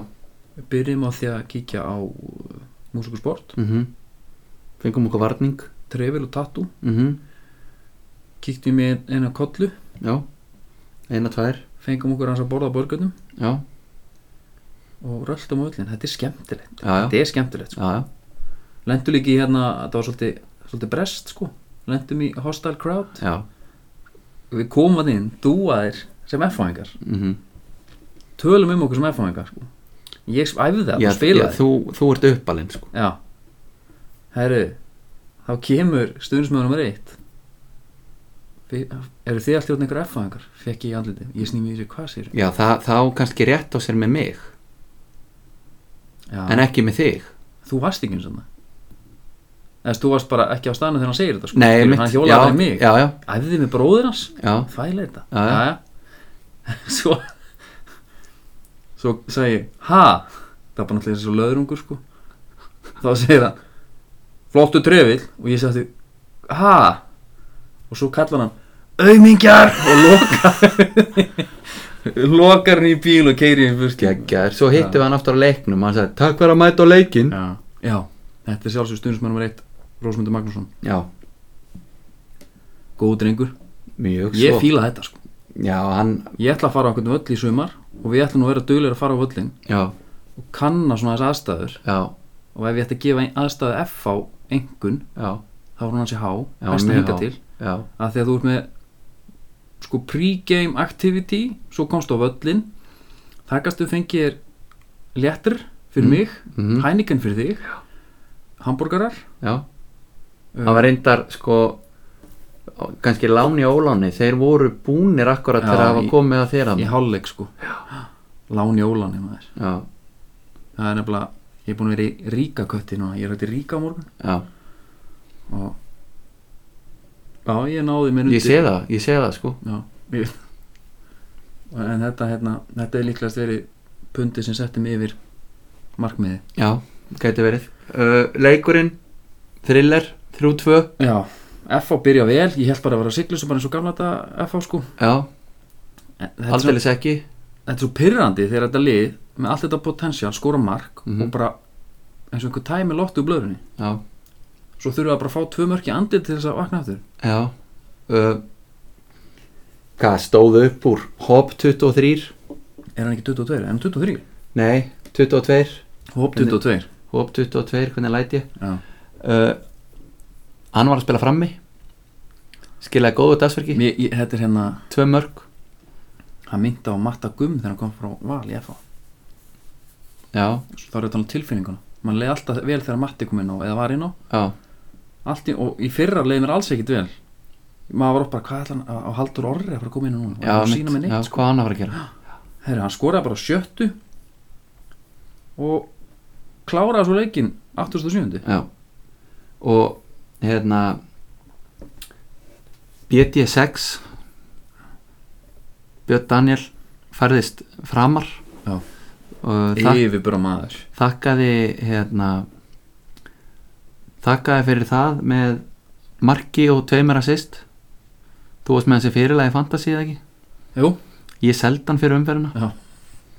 Speaker 1: byrjum á því að kíkja á uh, músikusport,
Speaker 2: mhm Fengum okkur varning
Speaker 1: trefil og tattu
Speaker 2: mhm
Speaker 1: kíktum í eina kollu
Speaker 2: Já, eina, tvær
Speaker 1: fengum okkur hans að borða á borgarnum
Speaker 2: Já,
Speaker 1: og röldum á öllin, þetta er skemmtilegt
Speaker 2: já, já
Speaker 1: þetta er skemmtilegt,
Speaker 2: Já, já,
Speaker 1: sko. lendum líki hérna þetta var svolítið, svolítið brest sko lendum í hostile crowd
Speaker 2: já
Speaker 1: við komum að inn, dúaðir sem F-fáingar,
Speaker 2: mhm
Speaker 1: tölum um okkur sem F-fáingar sko. ég æfði það,
Speaker 2: já,
Speaker 1: og spilaði
Speaker 2: já, þú, þú ert uppalinn sko.
Speaker 1: Já Herru, þá kemur stuðnismöður nummer eitt Þi- Eru þið alltaf einhver F-fæðingar? Fekk ég í andliti, ég snými þessu hvað sér
Speaker 2: já, það, þá kannski rétt á sér með mig
Speaker 1: Já,
Speaker 2: en ekki með þig
Speaker 1: e- þú varst ekki eins og það Eða þú varst bara ekki á stanu þegar hann segir þetta sko.
Speaker 2: Nei,
Speaker 1: Skilur,
Speaker 2: mitt,
Speaker 1: Hann
Speaker 2: já,
Speaker 1: hjólaði bara í mig
Speaker 2: já, já,
Speaker 1: Æfði með bróðir hans,
Speaker 2: já,
Speaker 1: þvæla þetta
Speaker 2: Já, já.
Speaker 1: já Svo Svo segi ég, ha Það er bara náttúrulega þessi svo löðrungur sko þá segir hann flottu trefill og ég sagði ha og svo kallar hann aumingjar og lokar lokar hann í bíl og keiri hann fyrst
Speaker 2: Geggjaður, svo hittum
Speaker 1: Já.
Speaker 2: við hann aftur á leiknum Hann sagði, takk fyrir að mæta á leikin
Speaker 3: já,
Speaker 1: já, þetta er sjálfsög stundismann nummer eitt Rósmundur Magnússon,
Speaker 2: Já,
Speaker 1: góð drengur
Speaker 2: mjög
Speaker 1: ég
Speaker 2: svo
Speaker 1: fíla þetta sko,
Speaker 2: Já, hann,
Speaker 1: ég ætla að fara á einhvern völl í sumar og við ætlum að vera duglega að fara á völlin
Speaker 2: já,
Speaker 1: og kanna svona þess aðstæður
Speaker 2: já,
Speaker 1: og ef ég ætti að gefa ein- aðstæðu F á engun,
Speaker 2: já
Speaker 1: þá er hún hans í H
Speaker 2: Já,
Speaker 1: best að
Speaker 2: mjög
Speaker 1: hinga
Speaker 2: há.
Speaker 1: til
Speaker 2: Já,
Speaker 1: að því að þú ert með sko pre-game activity svo komst á völlin þar gastu fengið þér léttur fyrir
Speaker 2: Mm.
Speaker 1: mig,
Speaker 2: mhm,
Speaker 1: hænikan fyrir þig hambúrgarar
Speaker 2: já Það var reyndar, sko á- kannski láni og óláni þeir voru búnir akkurat
Speaker 1: Já,
Speaker 2: þegar það var
Speaker 1: í-
Speaker 2: komið að þeirra
Speaker 1: í hálfleik sko láni ólan í maður
Speaker 2: já,
Speaker 1: það er nefnilega, ég er búin að vera í ríka kötti núna, ég er hægt í ríka á morgun
Speaker 2: já,
Speaker 1: og já, ég náði mér
Speaker 2: ég sé það, ég sé það sko
Speaker 1: Já, ég... en þetta hérna, þetta er líklegast verið pundi sem setti mig yfir markmiði
Speaker 2: já, gæti verið uh, leikurinn, thriller 3-2,
Speaker 1: Já, FH byrja vel, ég held bara að vera siglusu bara eins og gamla þetta FH sko
Speaker 2: já,
Speaker 1: En þetta er, svo,
Speaker 2: aldeilis ekki
Speaker 1: þetta er svo pyrrandi þegar þetta lið með allt þetta potensial skora mark
Speaker 2: Mhm.
Speaker 1: og bara eins og einhver tæmi lottu úr blöðrunni
Speaker 2: já,
Speaker 1: svo þurfa að bara að fá tvö mörki andið til þess að vakna aftur
Speaker 2: já uh, hvað stóðu upp úr Hop 23,
Speaker 1: Er hann ekki 22? Er hann 23?
Speaker 2: nei 22,
Speaker 1: Hóp 22
Speaker 2: Hop 22 hvernig læti ég
Speaker 1: Já,
Speaker 2: uh, hann var að spila frammi skilaði góðu dagsverki,
Speaker 1: Mér, ég, þetta er hérna
Speaker 2: tvö mörg
Speaker 1: hann myndi á Matta Gumm þegar hann kom frá Val í FH
Speaker 2: já,
Speaker 1: þá er þetta alveg tilfinninguna mann leiði alltaf vel þegar Matti kom inn á eða var inn á
Speaker 2: já,
Speaker 1: allt í, og í fyrra leiði mér alls ekkit vel maður var upp bara hvað ætla hann að- að haldur orri að fara að koma inn á núna
Speaker 2: já,
Speaker 1: og sína með
Speaker 2: mitt, já
Speaker 1: neitt sko.
Speaker 2: hvað hann var að gera
Speaker 1: herri hann skoraði bara á sjöttu og kláraði svo leikin 87.
Speaker 2: já og hérna BD6 Björn Daniel færðist framar
Speaker 1: Já.
Speaker 2: og þak,
Speaker 1: yfirbúra maður
Speaker 2: þakkaði hérna þakkaði fyrir það með marki og tveimur assist þú varst með þessi fyrirlega í Fantasí eða ekki?
Speaker 1: jú,
Speaker 2: Ég seldi hann fyrir umferðina
Speaker 1: Já.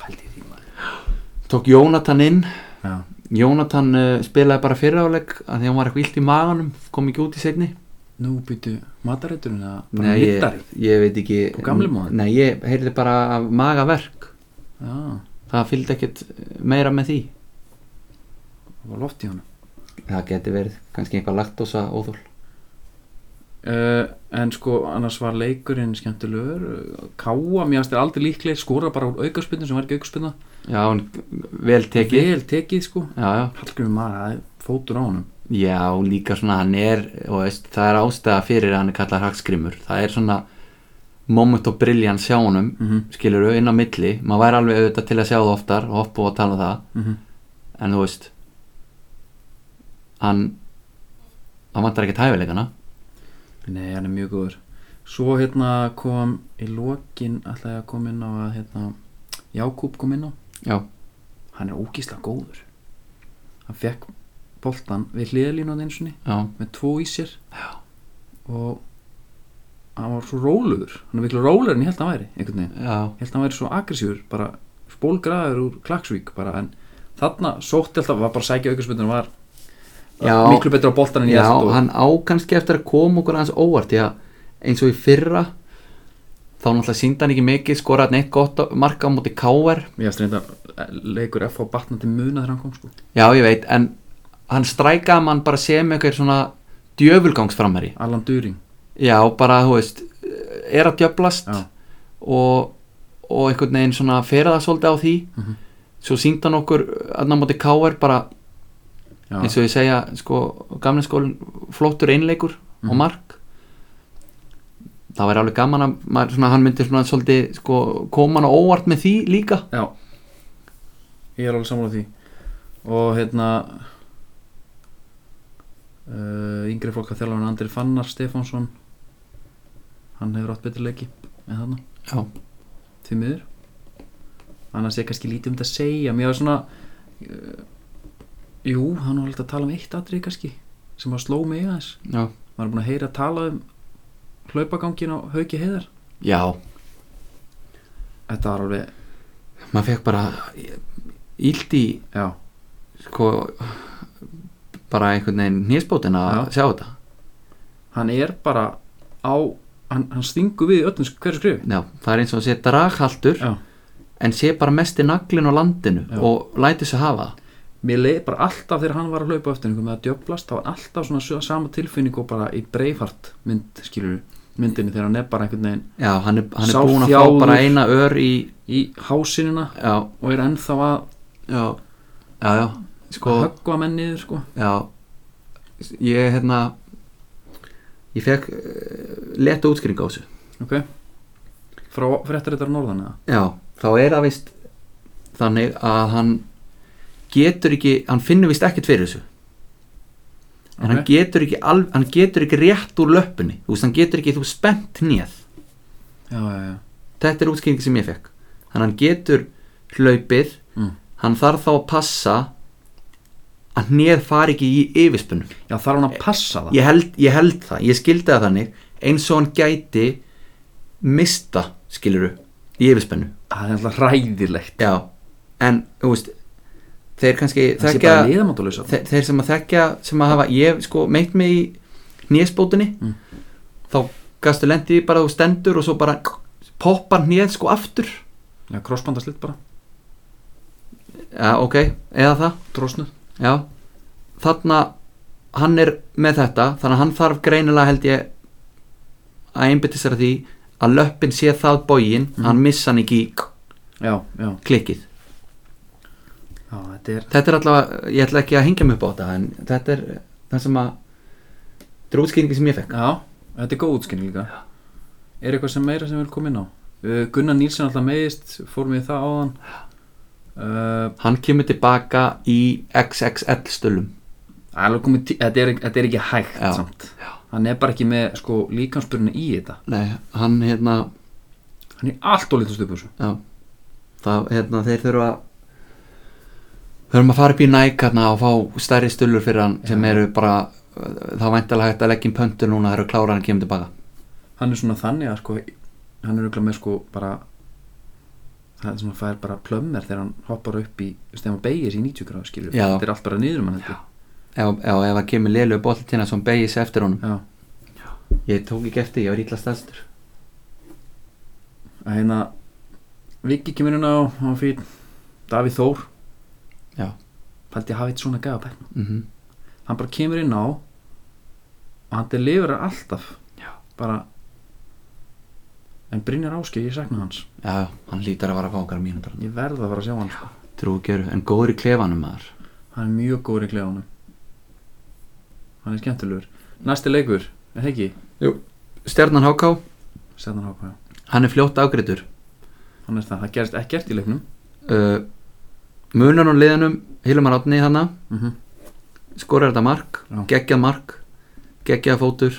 Speaker 2: Pældi í því maður Tók Jónatan inn
Speaker 1: já,
Speaker 2: Jónatan uh, spilaði bara fyrir áleik að því hann var eitthvað illt í maganum kom ekki út í segni
Speaker 1: nú býtu matarætturinn eða bara
Speaker 2: ég,
Speaker 1: hittari
Speaker 2: ég veit ekki
Speaker 1: Á gamli móðan?
Speaker 2: Nei, ég heyrði bara af magaverk
Speaker 1: já,
Speaker 2: Það fylgdi ekkit meira með því
Speaker 1: það var loft í honum
Speaker 2: Það geti verið kannski eitthvað laktósa óþól
Speaker 1: Uh, en sko annars var leikurinn skemmtilegur uh, Káa, mér finnst þér aldrei líklegir skora bara úr aukarspinnu sem var ekki aukarspinna
Speaker 2: Já, hann vel tekið
Speaker 1: vel tekið sko
Speaker 2: Já, já
Speaker 1: Hallgrimur maður, það er fótur á honum
Speaker 2: Já, líka svona hann er og veist, það er ástæða fyrir að hann er kallað hagskrimur það er svona moment of brilliance hjá honum
Speaker 1: mm -hmm.
Speaker 2: skilur inn á milli, maður væri alveg auðvitað til að sjá það oftar og hoppa og tala um það
Speaker 1: Mm -hmm.
Speaker 2: en þú veist hann hann vantar ekki tæfileikana
Speaker 1: Nei, hann er mjög góður Svo hérna kom í lokin ætlaði að koma inn á að hérna, Jákúb kom inn á
Speaker 2: já,
Speaker 1: Hann er ógísla góður Hann fekk boltan við hliðalínan eins og ni
Speaker 2: já,
Speaker 1: með tvo í sér Já. og hann var svo róluður hann er miklu róluður en ég held að hann væri einhvern veginn
Speaker 2: já,
Speaker 1: ég held að hann væri svo aggressífur bara spólgraður úr Klagsvík bara en þarna sótti alltaf var bara að sækja aukarspundinu var
Speaker 2: Já.
Speaker 1: miklu betur á boltan en ég
Speaker 2: já
Speaker 1: held og,
Speaker 2: hann á kannski eftir að koma okkur aðeins óvart því að eins og í fyrra þá náttúrulega síndi hann ekki mikið skoraði hann eitt gott marka á móti KR
Speaker 1: ég held reynda leikur FH batna til muna þegar hann kom sko
Speaker 2: já, ég veit, en hann strækaði mann bara sem eitthvað svona djöfulgangsframherji
Speaker 1: Allan During
Speaker 2: já, bara, þú veist er að djöflast
Speaker 1: Já.
Speaker 2: og, og einhvern veginn svona ferða svolítið á því
Speaker 1: Mhm.
Speaker 2: svo síndi hann okkur aðna móti K.R. bara
Speaker 1: já,
Speaker 2: eins og ég segja sko, gamlega skólin flottur einleikur og
Speaker 1: Mhm.
Speaker 2: mark það væri alveg gaman að maður, svona, hann myndi svona svolítið sko, koma hann á óvart með því líka
Speaker 1: já ég er alveg sammála því og hérna uh, yngri flokka þjálfan Andri Fannar Stefánsson hann hefur átt betur leiki en þarna
Speaker 2: já,
Speaker 1: því miður annars er kannski lítið um þetta að segja mér var svona uh, Jú, hann var alltaf að tala um eitt atrið kannski sem að sló mig aðeins
Speaker 2: já,
Speaker 1: maður er búin að heyra að tala um hlaupagangin á Hauki Heiðar
Speaker 2: já
Speaker 1: þetta var alveg,
Speaker 2: maður fekk bara ílt í
Speaker 1: já,
Speaker 2: sko bara einhvern veginn nýspótin að
Speaker 1: Já.
Speaker 2: sjá þetta
Speaker 1: hann er bara á hann, hann stingu við í öllum sk- hverju skrifi
Speaker 2: já, það er eins og að sé draghaltur
Speaker 1: já,
Speaker 2: en sé bara mesti naglin á landinu
Speaker 1: Já.
Speaker 2: og læti sig hafa það.
Speaker 1: mér leið bara alltaf þegar hann var að hlaupa á eftir einhver með að djöflast, þá var alltaf svona su- sama tilfinning og bara í breifart mynd, skilur myndinni þegar hann er bara einhvern veginn
Speaker 2: já, hann er, hann er
Speaker 1: Sá
Speaker 2: búin að
Speaker 1: þjáður.
Speaker 2: fá bara eina ör í
Speaker 1: í hásinina
Speaker 2: já,
Speaker 1: og er ennþá að
Speaker 2: já, já, já sko,
Speaker 1: höggva menn niður sko
Speaker 2: já ég hérna ég fekk uh, leta útskringa á þessu
Speaker 1: ok, frá fréttarittar norðan eða
Speaker 2: Já, þá er það vist þannig að hann getur ekki, hann finnur vist ekkert fyrir þessu en hann
Speaker 1: Ok.
Speaker 2: getur ekki alv, hann getur ekki rétt úr löppinni þú veist, hann getur ekki, þú spennt nýð
Speaker 1: já, já, já,
Speaker 2: þetta er útskýringi sem ég fekk þannig að hann getur hlaupið
Speaker 1: Mm.
Speaker 2: hann þarf þá að passa að nýð fari ekki í yfirspunum
Speaker 1: já þarf hann að passa það
Speaker 2: ég held, ég held það, ég skildi það þannig eins og hann gæti mista, skiluru í yfirspennu
Speaker 1: það er alltaf ræðilegt
Speaker 2: Já, en þú veist þeir kannski
Speaker 1: það sé
Speaker 2: þekkja
Speaker 1: bara liðamáttalösa
Speaker 2: þeir, þeir sem að þekkja sem að hafa, ég sko meitt mig í nýjaspótunni
Speaker 1: Mm.
Speaker 2: þá gastu lendi því bara þú stendur og svo bara poppar nýjað sko aftur
Speaker 1: já, krossbandaslitt bara,
Speaker 2: Já, ok, eða það
Speaker 1: drosnuð
Speaker 2: Já, þarna hann er með þetta, þannig að hann þarf greinilega held ég að einbytti sér að því að löppin sé það bógin,
Speaker 1: Mhm.
Speaker 2: hann missa hann ekki í
Speaker 1: já, já,
Speaker 2: klikkið
Speaker 1: já, þetta er
Speaker 2: þetta er allavega, ég ætla ekki að hengja mig upp á þetta en þetta er það sem að þetta er útskýringi sem ég fekk
Speaker 1: já, þetta er góð útskynning líka er eitthvað sem meira sem vil koma inn á uh, Gunnar Nílsson alltaf meðist fórum við það áðan uh,
Speaker 2: hann kemur tilbaka í XXL stölum
Speaker 1: alveg komið tí- þetta, er, þetta er ekki hægt
Speaker 2: Já,
Speaker 1: samt hann er bara ekki með sko líkansbyrjunni í þetta
Speaker 2: nei, hann hérna,
Speaker 1: hann er allt og litlu stupu þessu
Speaker 2: já það, hérna þeir þurfa þurfum að fara upp í Nike hérna og fá stærri stölur fyrir hann sem eru bara eh, þá væntalega hægt að leggja inn pöntu núna þegar klára hann kemur tilbaka
Speaker 1: hann er svona þannig að sko hann er auðvitað með sko bara það er svona fær bara plömmir þegar hann hoppar upp í, þú veist, þegar hann beigir sig í 90 gráðu skilur,
Speaker 2: Já.
Speaker 1: þetta er allt bara niður um hann já.
Speaker 2: ef, ef, ef að kemur lélu bóttina sem beigis eftir honum
Speaker 1: Já.
Speaker 2: ég tók ekki eftir, ég var ítla stærstur
Speaker 1: að hérna Viki kemur inn á, á fín Davíð Þór
Speaker 2: Já.
Speaker 1: Paldi hafið svona gæða bæknum
Speaker 2: mm
Speaker 1: hann bara kemur inn á og hann delivera alltaf
Speaker 2: Já.
Speaker 1: bara en Brynjar Áskei, ég sakna hans
Speaker 2: já, já, hann lítur að vara að fá okkar mínútur
Speaker 1: ég verð að fara að sjá hann sko.
Speaker 2: Trúgjör, en góður í klefanum maður
Speaker 1: hann er mjög góður í klefanum hann er skemmtilegur næsti leikur, er það ekki?
Speaker 2: Stjarnan Háká,
Speaker 1: Stjarnan Háka, já.
Speaker 2: hann er fljótt ágreitur
Speaker 1: hann er það, það gerist ekkert í leiknum
Speaker 2: uh, Munar og liðanum Hilmar Átni hana,
Speaker 1: mm
Speaker 2: skorar þetta mark
Speaker 1: Já.
Speaker 2: geggjað mark, geggjað fótur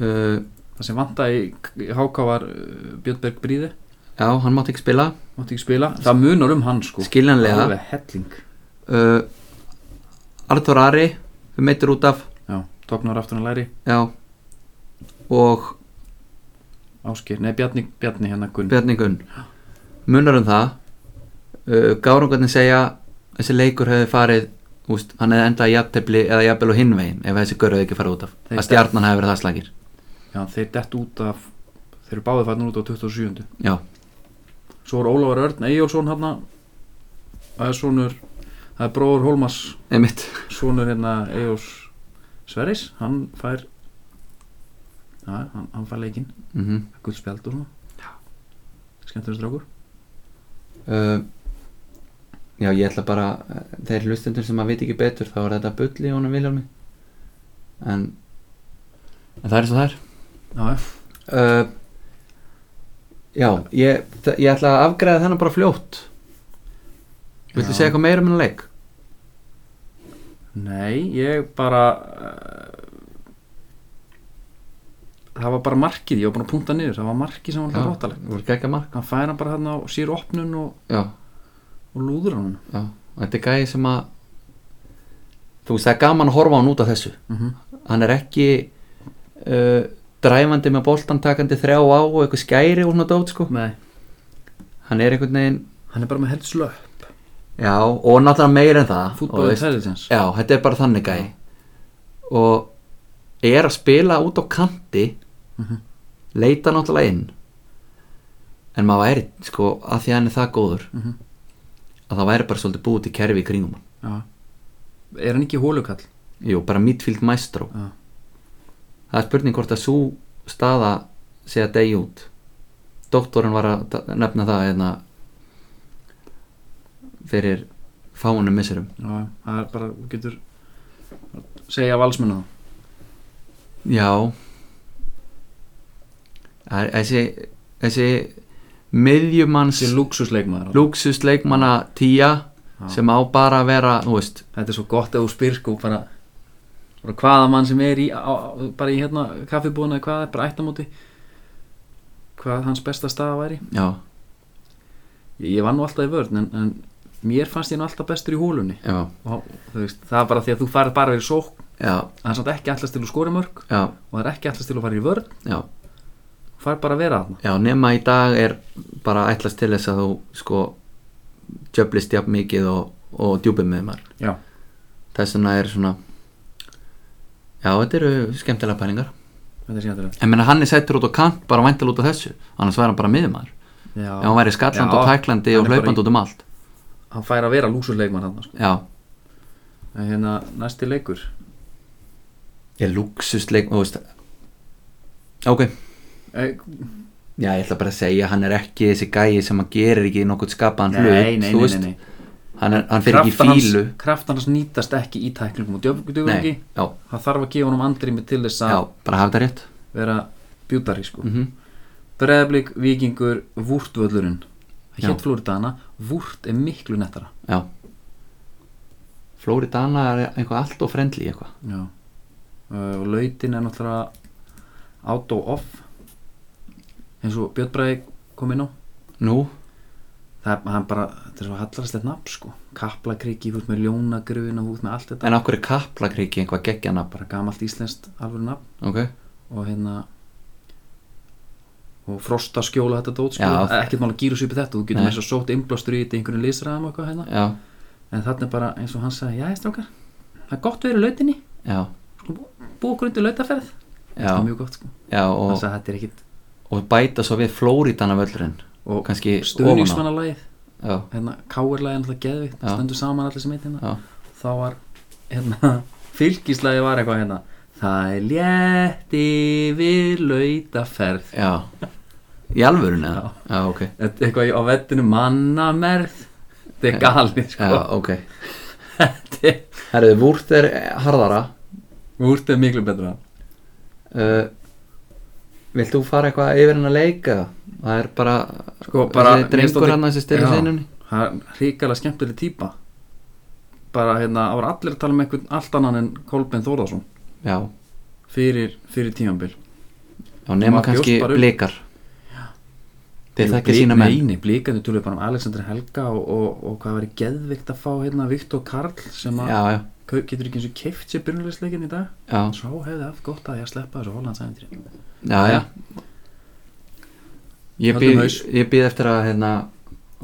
Speaker 2: uh,
Speaker 1: það sem vantaði í Háka var uh, Björnberg Bríði
Speaker 2: Já, hann mátti ekki spila
Speaker 1: mátti ekki spila, það munar um hann sko
Speaker 2: skiljanlega
Speaker 1: alveg helling
Speaker 2: uh, Artur Ari meittur út af
Speaker 1: já, tóknar aftur hann læri,
Speaker 2: já, og
Speaker 1: Áskir, nei Bjarni, Bjarni hérna Gunn
Speaker 2: Bjarni Gunn munar um það uh, Gárungarnir segja þessi leikur hefði farið úst, hann hefði endað í jafntefli eða jafnvel og hinvegin ef þessi görðu ekki farið út af
Speaker 1: Þeir-
Speaker 2: að stjarnan hefði verið það slagir
Speaker 1: já, þeir dett út af þeir eru báðið fætnir út á 27.
Speaker 2: já,
Speaker 1: svo er Ólafur Örn Eyjólfsson hann það er sonur það er bróður Hólmas
Speaker 2: einmitt
Speaker 1: sonur hérna Eyjós Sveris hann fær já, hann, hann fær leikinn
Speaker 2: mm
Speaker 1: gull spjald og svona skemmtur strákur
Speaker 2: uh, já, ég ætla bara eh, þeir hlustendur sem að viti ekki betur þá er þetta bull í honum Viljámi en, en það er svo það er
Speaker 1: já, já.
Speaker 2: uh, já, ég, þa- ég ætla að afgræða þennan bara fljótt viltu
Speaker 1: Já.
Speaker 2: segja eitthvað meira um hennar leik?
Speaker 1: nei, ég bara uh, það var bara markið, ég var búin að punta niður það var markið sem var
Speaker 2: Já,
Speaker 1: alltaf rótalegt
Speaker 2: voru geggja mark
Speaker 1: hann fær hann bara hann á sér opnun og,
Speaker 2: já,
Speaker 1: og lúður hann
Speaker 2: já, þetta er gæði sem að þú veist það er gaman að horfa á hann út af þessu
Speaker 1: Mhm.
Speaker 2: hann er ekki uh, dræfandi með boltan takandi þrjá á og eitthvað skæri og svona dót sko
Speaker 1: Nei,
Speaker 2: hann er einhvern veginn
Speaker 1: hann er bara með held slöpp
Speaker 2: já, og náttúrulega meira en það og
Speaker 1: Fútbol
Speaker 2: veist-
Speaker 1: intelligence
Speaker 2: já, þetta er bara þannig gæ og er að spila út á kanti
Speaker 1: Mhm.
Speaker 2: leita náttúrulega inn en maður væri sko að því að hann er það góður
Speaker 1: Mhm.
Speaker 2: að það væri bara svolítið búið til kerfi í kringum hann
Speaker 1: Já. Er hann ekki hólukall?
Speaker 2: jú, bara midfield maestro
Speaker 1: Já.
Speaker 2: það er spurning hvort að svo staða sé að degi út doktorinn var að ta- nefna það hérna fyrir fáunum misserum
Speaker 1: Já, það er bara, þú getur segja valsmennu það
Speaker 2: Já Það er þessi þessi miðjumanns
Speaker 1: Þessi luxusleikmaður
Speaker 2: luxusleikmanna tía
Speaker 1: Já.
Speaker 2: sem á bara að vera, þú veist
Speaker 1: Þetta er svo gott ef þú spyr sko bara, bara hvaða mann sem er í, á, á- bara í hérna kaffibúðuna eða hvað er bara ættamóti hvað hans besta staða væri
Speaker 2: já,
Speaker 1: Ég, ég var nú alltaf í vörn en, en mér fannst ég nú alltaf bestur í hólunni
Speaker 2: já,
Speaker 1: og þú veist, það er bara því að þú farið bara verið sók
Speaker 2: já,
Speaker 1: það er samt ekki allast til að skora mörg
Speaker 2: já,
Speaker 1: og það er ekki allast til að fara í vörn
Speaker 2: já,
Speaker 1: þú farið bara að vera þarna
Speaker 2: já nema í dag er bara ætlast til þess að þú sko djöflist jafn mikið og, og djúpið með maður
Speaker 1: Já,
Speaker 2: þess vegna er svona já, þetta eru skemmtilega pælingar
Speaker 1: þetta er síðan
Speaker 2: en menna hann er sættur út á kant bara væntal út á þessu annars væri hann bara miðjumaður
Speaker 1: Já,
Speaker 2: ef hann væri skallandi
Speaker 1: Já,
Speaker 2: og tæklandi
Speaker 1: hann
Speaker 2: og
Speaker 1: er bara
Speaker 2: hlaupandi
Speaker 1: í-
Speaker 2: út um allt
Speaker 1: hann fær að vera lúsuleikmann hann sko.
Speaker 2: já,
Speaker 1: en hérna næsti leikur
Speaker 2: ég er luxusleik þú veist ok,
Speaker 1: e,
Speaker 2: já ég ætla bara að segja hann er ekki þessi gæi sem hann gerir ekki nokkuð skapaðan hlut
Speaker 1: nei, nei,
Speaker 2: þú
Speaker 1: nei,
Speaker 2: veist.
Speaker 1: nei, nei.
Speaker 2: hann, er, hann fyrir ekki í fílu
Speaker 1: hans, kraftan hans nýtast ekki í tæklingum og djöfugum
Speaker 2: nei,
Speaker 1: ekki
Speaker 2: já,
Speaker 1: það þarf að gefa honum andrými til þess að
Speaker 2: já, bara hafa þetta rétt
Speaker 1: vera bjútari sko.
Speaker 2: mm
Speaker 1: mm. breðablík, vikingur, vúrtvöllurinn það
Speaker 2: Já.
Speaker 1: hétt Flóridana vúrt er miklu nettara
Speaker 2: já Flóridana er eitthvað allt og frendli eitthvað
Speaker 1: já. Uh, og lautin er náttúrulega out og off eins og Björn Bræði kom inn á
Speaker 2: nú,
Speaker 1: það er hann bara, þetta er svo hallarslegt nafn sko kaplakriki, þú ert með ljónagruna þú ert með allt þetta
Speaker 2: en okkur er kaplakriki eitthvað geggjana bara,
Speaker 1: bara gamalt íslenskt alvöru nafn
Speaker 2: ok
Speaker 1: og hérna og frosta skjóla þetta dót sko,
Speaker 2: Já.
Speaker 1: ekkert mál að gýra svo upp í þetta þú getur
Speaker 2: Nei.
Speaker 1: með þess að sótt innblástur í þetta í einhvern lýsraðum og eitthvað hérna
Speaker 2: já,
Speaker 1: en þarna er bara eins og hann sagði, já, strákar það er gott við erum í lautinni,
Speaker 2: já,
Speaker 1: búið okkur undir lautaferð
Speaker 2: já,
Speaker 1: það er mjög gott sko,
Speaker 2: já og,
Speaker 1: þannig að þetta er ekkit
Speaker 2: og bæta svo við Flóridana völlurinn
Speaker 1: og
Speaker 2: kannski ofan á
Speaker 1: stuðningsmannalagið
Speaker 2: já,
Speaker 1: hérna, káirlagið náttúrulega geðvikt,
Speaker 2: Já.
Speaker 1: stendur saman allir sem eitt hérna
Speaker 2: já,
Speaker 1: þá var, hérna, fylgislagið var eitthvað hérna það er létti við lautaferð
Speaker 2: Já Í alvörun eða?
Speaker 1: Já.
Speaker 2: Já, ok
Speaker 1: Þetta er eitthvað í- á vettinu mannamerð Þetta er galið sko
Speaker 2: Já, ok
Speaker 1: Þetta er-
Speaker 2: Herðu, vúrt er harðara
Speaker 1: Úrt er miklu betra
Speaker 2: uh, Vilt þú fara eitthvað yfir hennar leika? Það er bara
Speaker 1: Sko, bara-
Speaker 2: þessi
Speaker 1: mér stóð-
Speaker 2: drengur hérna. hann þessi styrir
Speaker 1: Já.
Speaker 2: seinunni
Speaker 1: Það er hrikalega skemmtileg típa Bara hérna, það var allir að tala um einhvern allt annan en Kolbein Þórðarsson
Speaker 2: Já,
Speaker 1: Fyrir, fyrir tímanbil
Speaker 2: já
Speaker 1: Maður
Speaker 2: nema
Speaker 1: bjóst
Speaker 2: kannski
Speaker 1: bara upp.
Speaker 2: blikar Þeir þekkja sína menn
Speaker 1: Neini, blíkandi tölum bara um Alexander Helga og, og, og hvað verið geðvikt að fá hérna Viktor Karl sem að
Speaker 2: Já, já,
Speaker 1: kau- getur ekki eins og keift sér byrjulegsleikin í dag
Speaker 2: já,
Speaker 1: Sá hefði haft gott að ég að sleppa þessu Hollandsændri
Speaker 2: já, já. Ég
Speaker 1: Höldum
Speaker 2: býð,
Speaker 1: haus.
Speaker 2: ég býð eftir að hérna,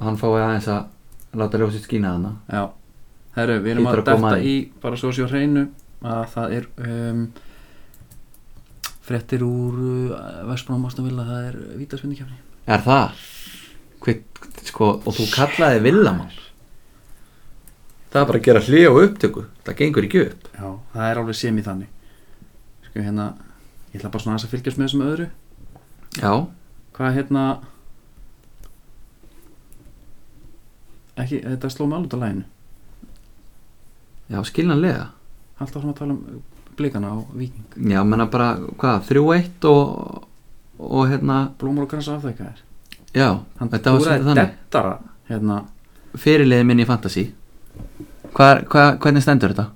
Speaker 2: hann fái aðeins að láta ljósið skína hana
Speaker 1: Já, herru, við erum að,
Speaker 2: Hlýtur að koma
Speaker 1: detta
Speaker 2: að því.
Speaker 1: í bara svo séu hreinu að það er um, fréttir úr uh, Vestbrunum Ástanvilla, það er vítaspindikefni
Speaker 2: Er það? Hver, sko, og þú kallaði villamann Það er bara að gera hlið og upptöku Það gengur ekki upp
Speaker 1: Já, það er alveg sem í þannig Sko hérna, ég ætla bara svona aðeins að fylgjast með þessum öðru
Speaker 2: Já,
Speaker 1: Hvað hérna ekki, þetta sló mig alveg út á læginu
Speaker 2: já, skiljanlega
Speaker 1: Alltaf svona að tala um blikana á Víking
Speaker 2: Já, menna bara, hvað, 3-1 og, og hérna
Speaker 1: Blómur og gransa afþekka þér
Speaker 2: Já,
Speaker 1: Hann
Speaker 2: þetta var
Speaker 1: túraði
Speaker 2: svolítið þannig
Speaker 1: dettara hérna,
Speaker 2: Fyrirliði minni í Fantasí hva, hva, Hvernig stendur þetta?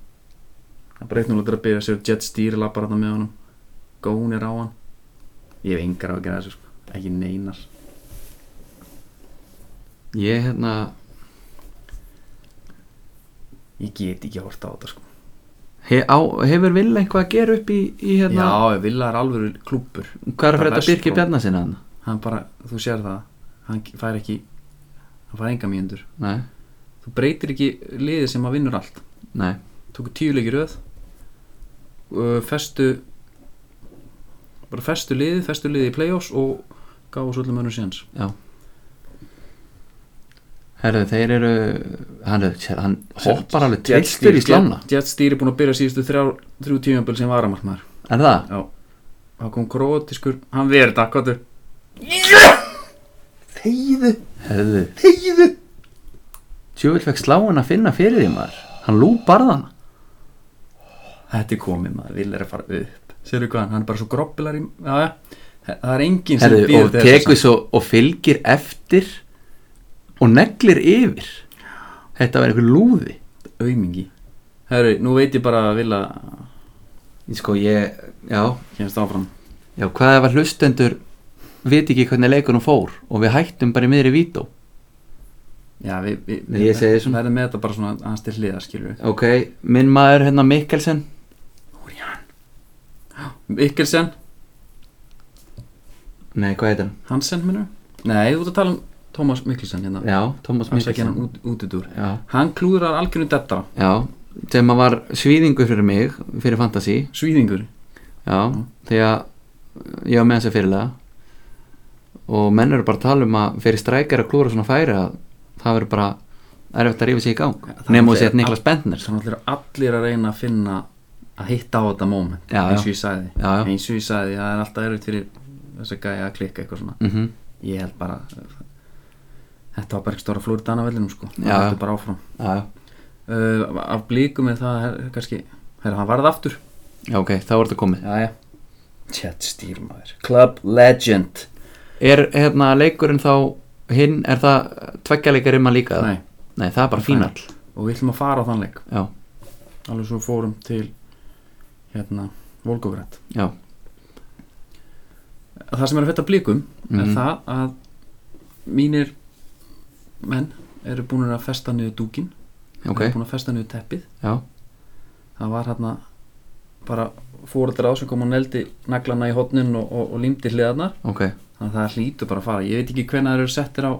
Speaker 1: Það er bara eitt núna til að byrja sér Jet stýri lappar hann með honum Gónir á hann Ég hef engar á að gera þessu sko. Ekki neinar
Speaker 2: Ég, hérna,
Speaker 1: Ég get ekki að horta á þetta sko.
Speaker 2: He, á, hefur Villa eitthvað að gera upp í, í hérna,
Speaker 1: Já, Villa er alvöru klúpur
Speaker 2: hvað er að fyrir þetta
Speaker 1: Vestbró.
Speaker 2: Birki Bjarna sinna hann?
Speaker 1: Hann bara, þú sér það Hann fær ekki Hann fær enga mínundur
Speaker 2: Nei,
Speaker 1: Þú breytir ekki liðið sem að vinnur allt
Speaker 2: nei,
Speaker 1: Tóku tíu leikir röð uh, Festu Bara festu liðið Festu liðið í playoffs og gáðu svo öllum önnum séns
Speaker 2: já Herðu, þeir eru hann, er- sér- hann hoppar alveg tristur í slána
Speaker 1: Jet Steer er búin að byrja síðustu þrjá, þrjú tímjömbil sem varamartmaður
Speaker 2: Er það?
Speaker 1: Já Það kom krótiskur Hann verið takkvæður
Speaker 2: Heiðu Heiðu Heiðu Tjóvill fekk sláin að finna fyrir því maður Hann lúbarðana
Speaker 1: Þetta er komið maður Vil er að fara upp Sérðu hvað hann er bara svo groppilar í Já, já Það er enginn sem
Speaker 2: Herðu,
Speaker 1: býður
Speaker 2: og
Speaker 1: þetta
Speaker 2: tekur
Speaker 1: samt.
Speaker 2: svo og fylgir eftir og neglir yfir Þetta var einhver lúði
Speaker 1: Aumingi Herru, nú veit ég bara að vil að
Speaker 2: Sko ég, já
Speaker 1: Kemst áfram
Speaker 2: Já, hvað ef að hlustendur viti ekki hvernig leikunum fór og við hættum bara í miðri vító
Speaker 1: Já, við, við,
Speaker 2: Nei, ég segi svona.
Speaker 1: Það er með þetta bara svona aðeins til hliða, skilur við
Speaker 2: Ok, minn maður hérna Mikkelsen
Speaker 1: Ikkelsen,
Speaker 2: Nei, hvað heitir hann?
Speaker 1: Hansen, minnum Nei, þú ert að tala um Thomas Mikkelsen hérna
Speaker 2: Já, Tómas
Speaker 1: Það sækja
Speaker 2: Mikkelsen
Speaker 1: hann út, út í dúr
Speaker 2: Já,
Speaker 1: Hann klúðrar algjörnum dettara
Speaker 2: já sem að var svíðingur fyrir mig fyrir Fantasí
Speaker 1: Svíðingur
Speaker 2: Já,
Speaker 1: Mm.
Speaker 2: því að ég var með þessi fyrirlega og menn eru bara að tala um að fyrir strækjar að klúra svona færi að það verður bara erfitt að rífa sig í gang
Speaker 1: Já, það er
Speaker 2: nema þú
Speaker 1: náttúrulega-
Speaker 2: sett Niklas Bentner
Speaker 1: Þannig að allir að reyna að finna að hitta á þetta moment
Speaker 2: Já, já.
Speaker 1: eins og ég sagði
Speaker 2: Já, já.
Speaker 1: eins og ég sagði, það er alltaf erfitt fyrir þess að gæja að klikka eitthvað svona
Speaker 2: mm
Speaker 1: ég held bara þetta var bara ekki stóra flóri dana vellinum sko
Speaker 2: Já, já.
Speaker 1: þetta bara áfram
Speaker 2: Já, já.
Speaker 1: uh, af blíkum er það her, kannski, herra hann varð aftur
Speaker 2: já, ok, þá er þetta komið
Speaker 1: já, já Chet Stýrmaður, Club Legend
Speaker 2: Er hérna leikurinn þá hinn, er það tveggjaleikar um að líka? eða?
Speaker 1: Nei,
Speaker 2: Nei, það er bara fínall
Speaker 1: og við ætlum að fara á þann leik
Speaker 2: Já,
Speaker 1: alveg svo við fórum til hérna, Volgogrætt
Speaker 2: já,
Speaker 1: það sem er að fætta blíkum er
Speaker 2: Mhm.
Speaker 1: það að mínir menn eru búin að festa niður dúkin
Speaker 2: ok,
Speaker 1: eru búin að festa niður teppið
Speaker 2: já,
Speaker 1: það var hérna bara fóreldra á sem kom og neldi naglana í hotnin og, og, og límdi hliðarnar
Speaker 2: ok
Speaker 1: þannig að það hlýtur bara að fara ég veit ekki hvenær þeir eru settir á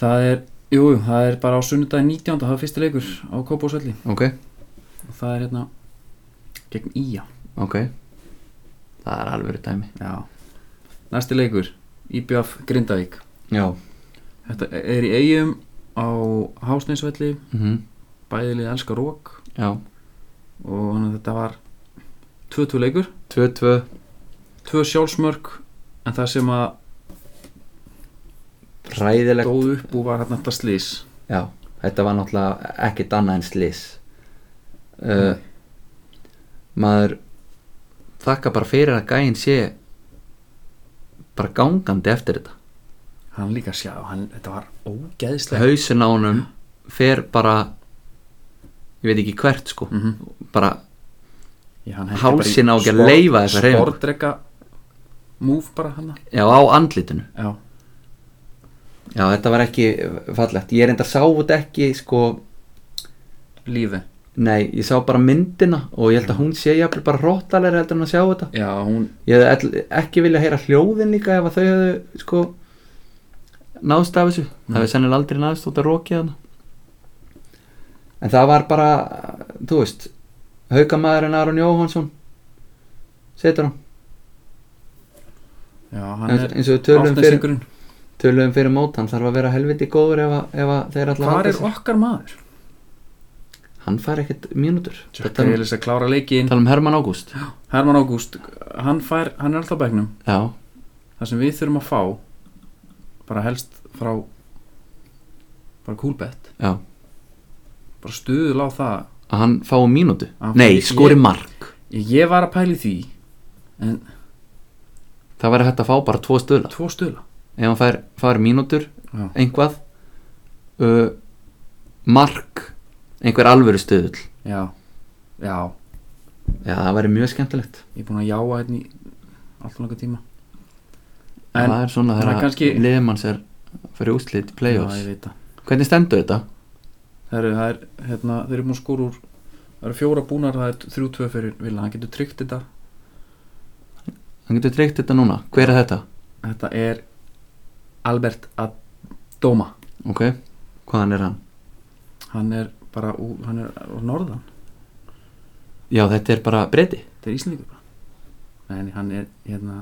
Speaker 1: það er, jú, jú, það er bara á sunnudagi 19. það er fyrsti leikur á Kópásvelli
Speaker 2: Ok,
Speaker 1: og það er hérna gegn Ía
Speaker 2: ok Það er alveg dæmi
Speaker 1: já. næsti leikur, IBF Grindavík
Speaker 2: Já,
Speaker 1: Þetta er í eigum á Hásneinsvelli,
Speaker 2: mm
Speaker 1: bæðilið elskar rók
Speaker 2: já
Speaker 1: og þannig að þetta var 2-2 leikur,
Speaker 2: 2-2
Speaker 1: tvö sjálfsmörk en það sem að
Speaker 2: Ræðilegt
Speaker 1: dóð upp og var hérna þetta slís
Speaker 2: Já, þetta var náttúrulega ekkert annað en slis uh, Maður þakka bara fyrir að gæinn sé bara gangandi eftir þetta
Speaker 1: hann líka sjá, hann, þetta var ógeðslega
Speaker 2: Hausin á honum fer bara ég veit ekki hvert sko
Speaker 1: mm -hmm.
Speaker 2: bara, Hálsinn á ekki að leyfa þessa hreyfingu.
Speaker 1: spordreka múf bara hann
Speaker 2: já á andlitinu
Speaker 1: já,
Speaker 2: Já, þetta var ekki fallegt Ég reyndar sá þetta ekki sko
Speaker 1: lífi
Speaker 2: Nei, ég sá bara myndina og ég held að hún sé jafnvel bara hróttalega heldur en að sjá þetta
Speaker 1: já, hún,
Speaker 2: Ég hefði ell- ekki vilja heyra hljóðin líka ef að þau hefðu sko náðst af þessu
Speaker 1: Mm.
Speaker 2: það hefði sennilega aldrei náðst út að rokið hana en það var bara þú veist haugamaðurinn Aron Jóhansson setur hann,
Speaker 1: já, hann
Speaker 2: eins,
Speaker 1: er
Speaker 2: eins og við tölum fyrir,
Speaker 1: Ásnessingurinn.
Speaker 2: tölum fyrir mót hann þarf að vera helviti góður ef, að, ef að þeir allar
Speaker 1: hvar er okkar maður?
Speaker 2: hann fær ekkert mínútur
Speaker 1: Þetta er að klára leikin
Speaker 2: um- tala um Herman Ágúst já,
Speaker 1: Herman Ágúst, hann fær, hann er alltaf á bæknum
Speaker 2: já,
Speaker 1: það sem við þurfum að fá bara helst frá bara kúlbett bara stuðul á það
Speaker 2: að hann fái mínútu
Speaker 1: Hann fær-
Speaker 2: nei,
Speaker 1: ég-
Speaker 2: skori mark
Speaker 1: ég var að pæli því en
Speaker 2: það væri hægt að fá bara tvo stöðla
Speaker 1: tvo stuðla
Speaker 2: ef hann fær, fær mínútur
Speaker 1: Já.
Speaker 2: einvað uh, mark einhver alvöru stöðull
Speaker 1: já, já,
Speaker 2: já, það væri mjög skemmtilegt
Speaker 1: ég er búin að jáa hérna í alltaf langa tíma
Speaker 2: það er svona
Speaker 1: það er
Speaker 2: þegar
Speaker 1: kannski-
Speaker 2: kannski... liðmanns er fyrir úslit
Speaker 1: já,
Speaker 2: play-offs
Speaker 1: ég veit það
Speaker 2: hvernig stendur þetta?
Speaker 1: Heru, það er, hérna, þeir eru búin að skóra úr það eru fjóra búnar, það er þrjú tvö fyrir Villa, hann getur tryggt þetta
Speaker 2: hann getur tryggt þetta núna, hver er þetta?
Speaker 1: þetta er Albert Adoma
Speaker 2: ok, hvaðan er hann?
Speaker 1: hann er bara, ú, hann er á norðan
Speaker 2: já, þetta er bara breyti
Speaker 1: þetta er Íslandingur bara nei, nei, hann er hérna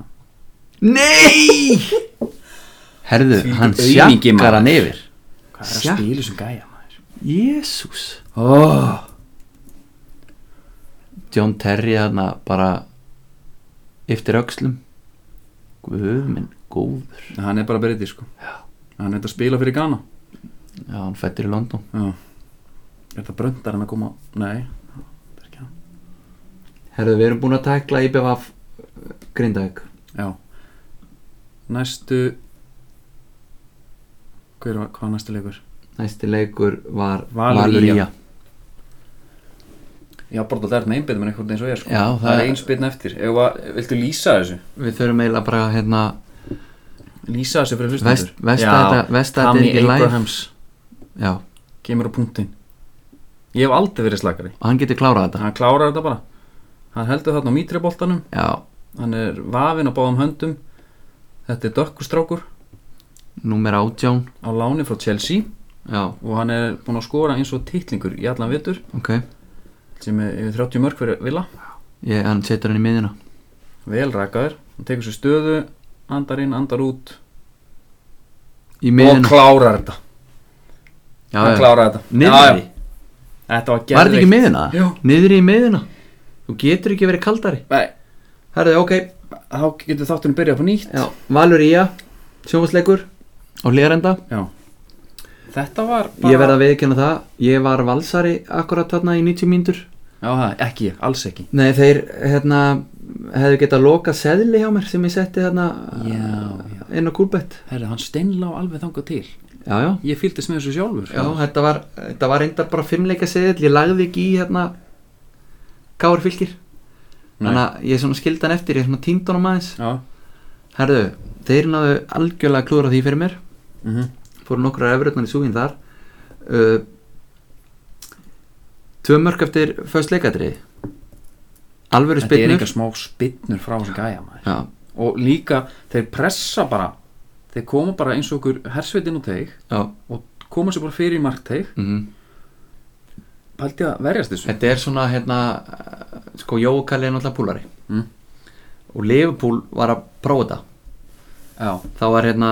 Speaker 2: Nei Herðu,
Speaker 1: Því
Speaker 2: hann
Speaker 1: aumingi maður.
Speaker 2: sjakkar hann yfir
Speaker 1: hvað er
Speaker 2: Sjá.
Speaker 1: að spila sem gæja maður
Speaker 2: Jésús
Speaker 1: oh.
Speaker 2: John Terry þarna bara Yftir öxlum Guð minn, góður
Speaker 1: hann er bara breytið sko
Speaker 2: Já.
Speaker 1: hann er þetta að spila fyrir Ghana
Speaker 2: Já, hann fættir í London
Speaker 1: Já. er þetta bröndar hann að koma nei, það er ekki hann
Speaker 2: Herðu, við erum búin að tækla IBVF eh, Grindavík
Speaker 1: já næstu hver var, hvað var næstu leikur
Speaker 2: Næsti leikur var
Speaker 1: Valur
Speaker 2: Valur
Speaker 1: Ía.
Speaker 2: Ía
Speaker 1: já, bara það er með einbyrðum en einhvern eins og ég sko
Speaker 2: Já, það
Speaker 1: það er
Speaker 2: er-
Speaker 1: einspyrn eftir Ef að, viltu lýsa þessu?
Speaker 2: Við þurfum eiginlega bara hérna
Speaker 1: lýsa þessu fyrir hlustendur
Speaker 2: Vest, vesta þetta, vesta þetta
Speaker 1: Tammy
Speaker 2: ekki live
Speaker 1: Abrahams
Speaker 2: Já,
Speaker 1: kemur á punktinn ég hef aldrei verið slakari
Speaker 2: hann getur klárað þetta
Speaker 1: hann klárar þetta bara hann heldur þarna á mítriboltanum
Speaker 2: Já,
Speaker 1: hann er vafinn á báðum höndum þetta er dökkustrákur
Speaker 2: númer átján
Speaker 1: á láni frá Chelsea
Speaker 2: Já,
Speaker 1: og hann er búinn að skora eins og titlingur í allan vetur
Speaker 2: ok
Speaker 1: sem er yfir 30 mörg fyrir Villa
Speaker 2: Ég, hann setur hann í miðina
Speaker 1: vel rakaður, hann tekur sér stöðu andar inn, andar út
Speaker 2: Í miðina
Speaker 1: og klárar þetta
Speaker 2: já,
Speaker 1: hann
Speaker 2: já.
Speaker 1: klárar þetta já,
Speaker 2: Niðri,
Speaker 1: já. þetta var
Speaker 2: var þetta ekki í
Speaker 1: gerðveikt.
Speaker 2: miðina?
Speaker 1: Jú.
Speaker 2: Niðri í miðina Þú getur ekki verið kaldari
Speaker 1: Nei,
Speaker 2: Herðu, ok
Speaker 1: þá getur þáttunum byrjað upp á nýtt
Speaker 2: já. Valur Ía, sjófasleikur og hlérenda
Speaker 1: Já. þetta var bara
Speaker 2: Ég verð að viðkynna það Ég var valsari akkurat þarna í 90 mínútur
Speaker 1: já, það, er ekki ég, alls ekki
Speaker 2: Nei, þeir hérna hefðu getað lokað seðli hjá mér sem ég setti þarna
Speaker 1: Já,
Speaker 2: inn á kúrbett
Speaker 1: Herri, hann steinlá alveg þangað til
Speaker 2: Já, já
Speaker 1: Ég fylgdist með þessu sjálfur
Speaker 2: Já, þetta var, þetta var reyndar bara fimmleika seðil, ég lagði ekki í hérna Káur fylgir
Speaker 1: Nei.
Speaker 2: Þannig að ég svona skildi hann eftir, ég svona týndi honum aðeins
Speaker 1: Já,
Speaker 2: Herðu, þeir náðu algjörlega að klúra því fyrir mér
Speaker 1: mhm,
Speaker 2: Fóru nokkrar efrutnar í súginn þar uh, Tvö mörg eftir föst leikadrið Alvöru
Speaker 1: Þetta er
Speaker 2: spilnur
Speaker 1: eitthvað smá spinnur frá þessum gæja maður
Speaker 2: Já,
Speaker 1: Og líka, þeir pressa bara Þeir koma bara eins og okkur hersveitin og teig
Speaker 2: já
Speaker 1: Og koma sér bara fyrir í markteig
Speaker 2: mm
Speaker 1: Pældi að verjast þessu
Speaker 2: Þetta er svona hérna uh, Sko Jókalli er náttúrulega púlari
Speaker 1: mm.
Speaker 2: Og Liverpool var að prófa þetta
Speaker 1: Já,
Speaker 2: Þá var hérna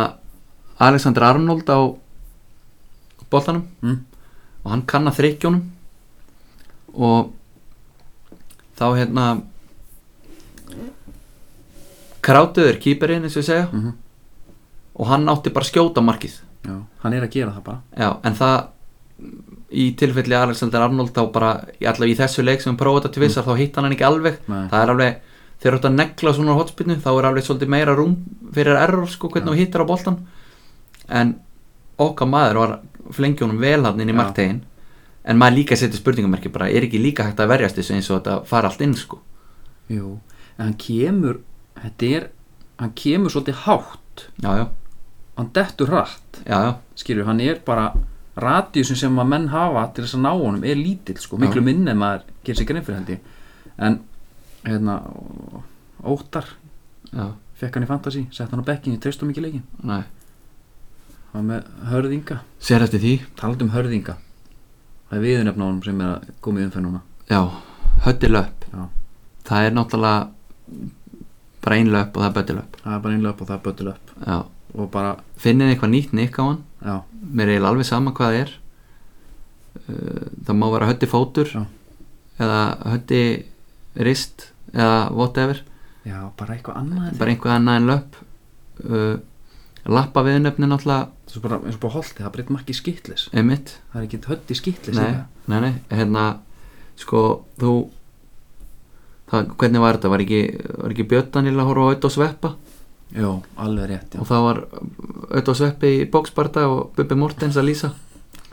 Speaker 2: Alexander Arnold á boltanum
Speaker 1: mm.
Speaker 2: og hann kann að þrykkjónum og þá hérna krátuður kýperinn eins og ég segja
Speaker 1: Mhm.
Speaker 2: og hann átti bara að skjóta markið
Speaker 1: Já, hann er að gera það bara
Speaker 2: já, en það í tilfelli Alexander Arnold þá bara í allavega í þessu leik sem við prófaði þetta til vissar þá hitt hann hann ekki alveg
Speaker 1: Nei.
Speaker 2: það er alveg, þegar þú ert að negla svona á hotspinnu þá er alveg svolítið meira rúm fyrir error sko hvernig þú hittar á boltan en okkar maður var flengjónum vel hann inn í
Speaker 1: Já.
Speaker 2: marktegin en maður líka setur spurningamerki bara er ekki líka hægt að verjast þessu eins og þetta fara allt inn sko
Speaker 1: Jú, en hann kemur Þetta er, hann kemur svolítið hátt
Speaker 2: já, já,
Speaker 1: Hann dettur hratt
Speaker 2: já, já,
Speaker 1: Skilju, hann er bara radíusin sem að menn hafa til þess að ná honum er lítill sko,
Speaker 2: Já.
Speaker 1: miklu minni en maður gerir sér grein fyrir held ég en hérna Óttar
Speaker 2: já,
Speaker 1: fekk hann í fantasy, sett hann á bekkinu, treystum ekki leikin
Speaker 2: næ
Speaker 1: hann var með hörðinga,
Speaker 2: sér eftir því,
Speaker 1: talandi um hörðinga það er viðunefn á honum sem er að koma í umferð núna
Speaker 2: já, höttilöp
Speaker 1: Já.
Speaker 2: það er náttúrulega bara einlöp og það er böttilöp
Speaker 1: það er bara einlega upp og það er böttul upp
Speaker 2: já,
Speaker 1: og bara,
Speaker 2: finnið eitthvað nýtt nikk á hann
Speaker 1: já,
Speaker 2: mér er eiginlega alveg sama hvað það er Uh, það má vera hötti fótur
Speaker 1: Já.
Speaker 2: eða hötti rist eða whatever
Speaker 1: já, bara eitthvað annað en
Speaker 2: bara einhver annað en löp uh, lappa við nöfnin alltaf
Speaker 1: þetta. svo bara, eins og bara holti, það breytt marki skitlis
Speaker 2: emitt
Speaker 1: það er ekki hödd í skitlis
Speaker 2: nei, nei, nei, hérna sko þú það, hvernig var þetta, var ekki, var ekki Björn Daniel að horfa á auðvitað sveppa
Speaker 1: já, alveg rétt,
Speaker 2: og það var auðvitað sveppi í bóksparta og Bubbi Mortens að lýsa
Speaker 1: já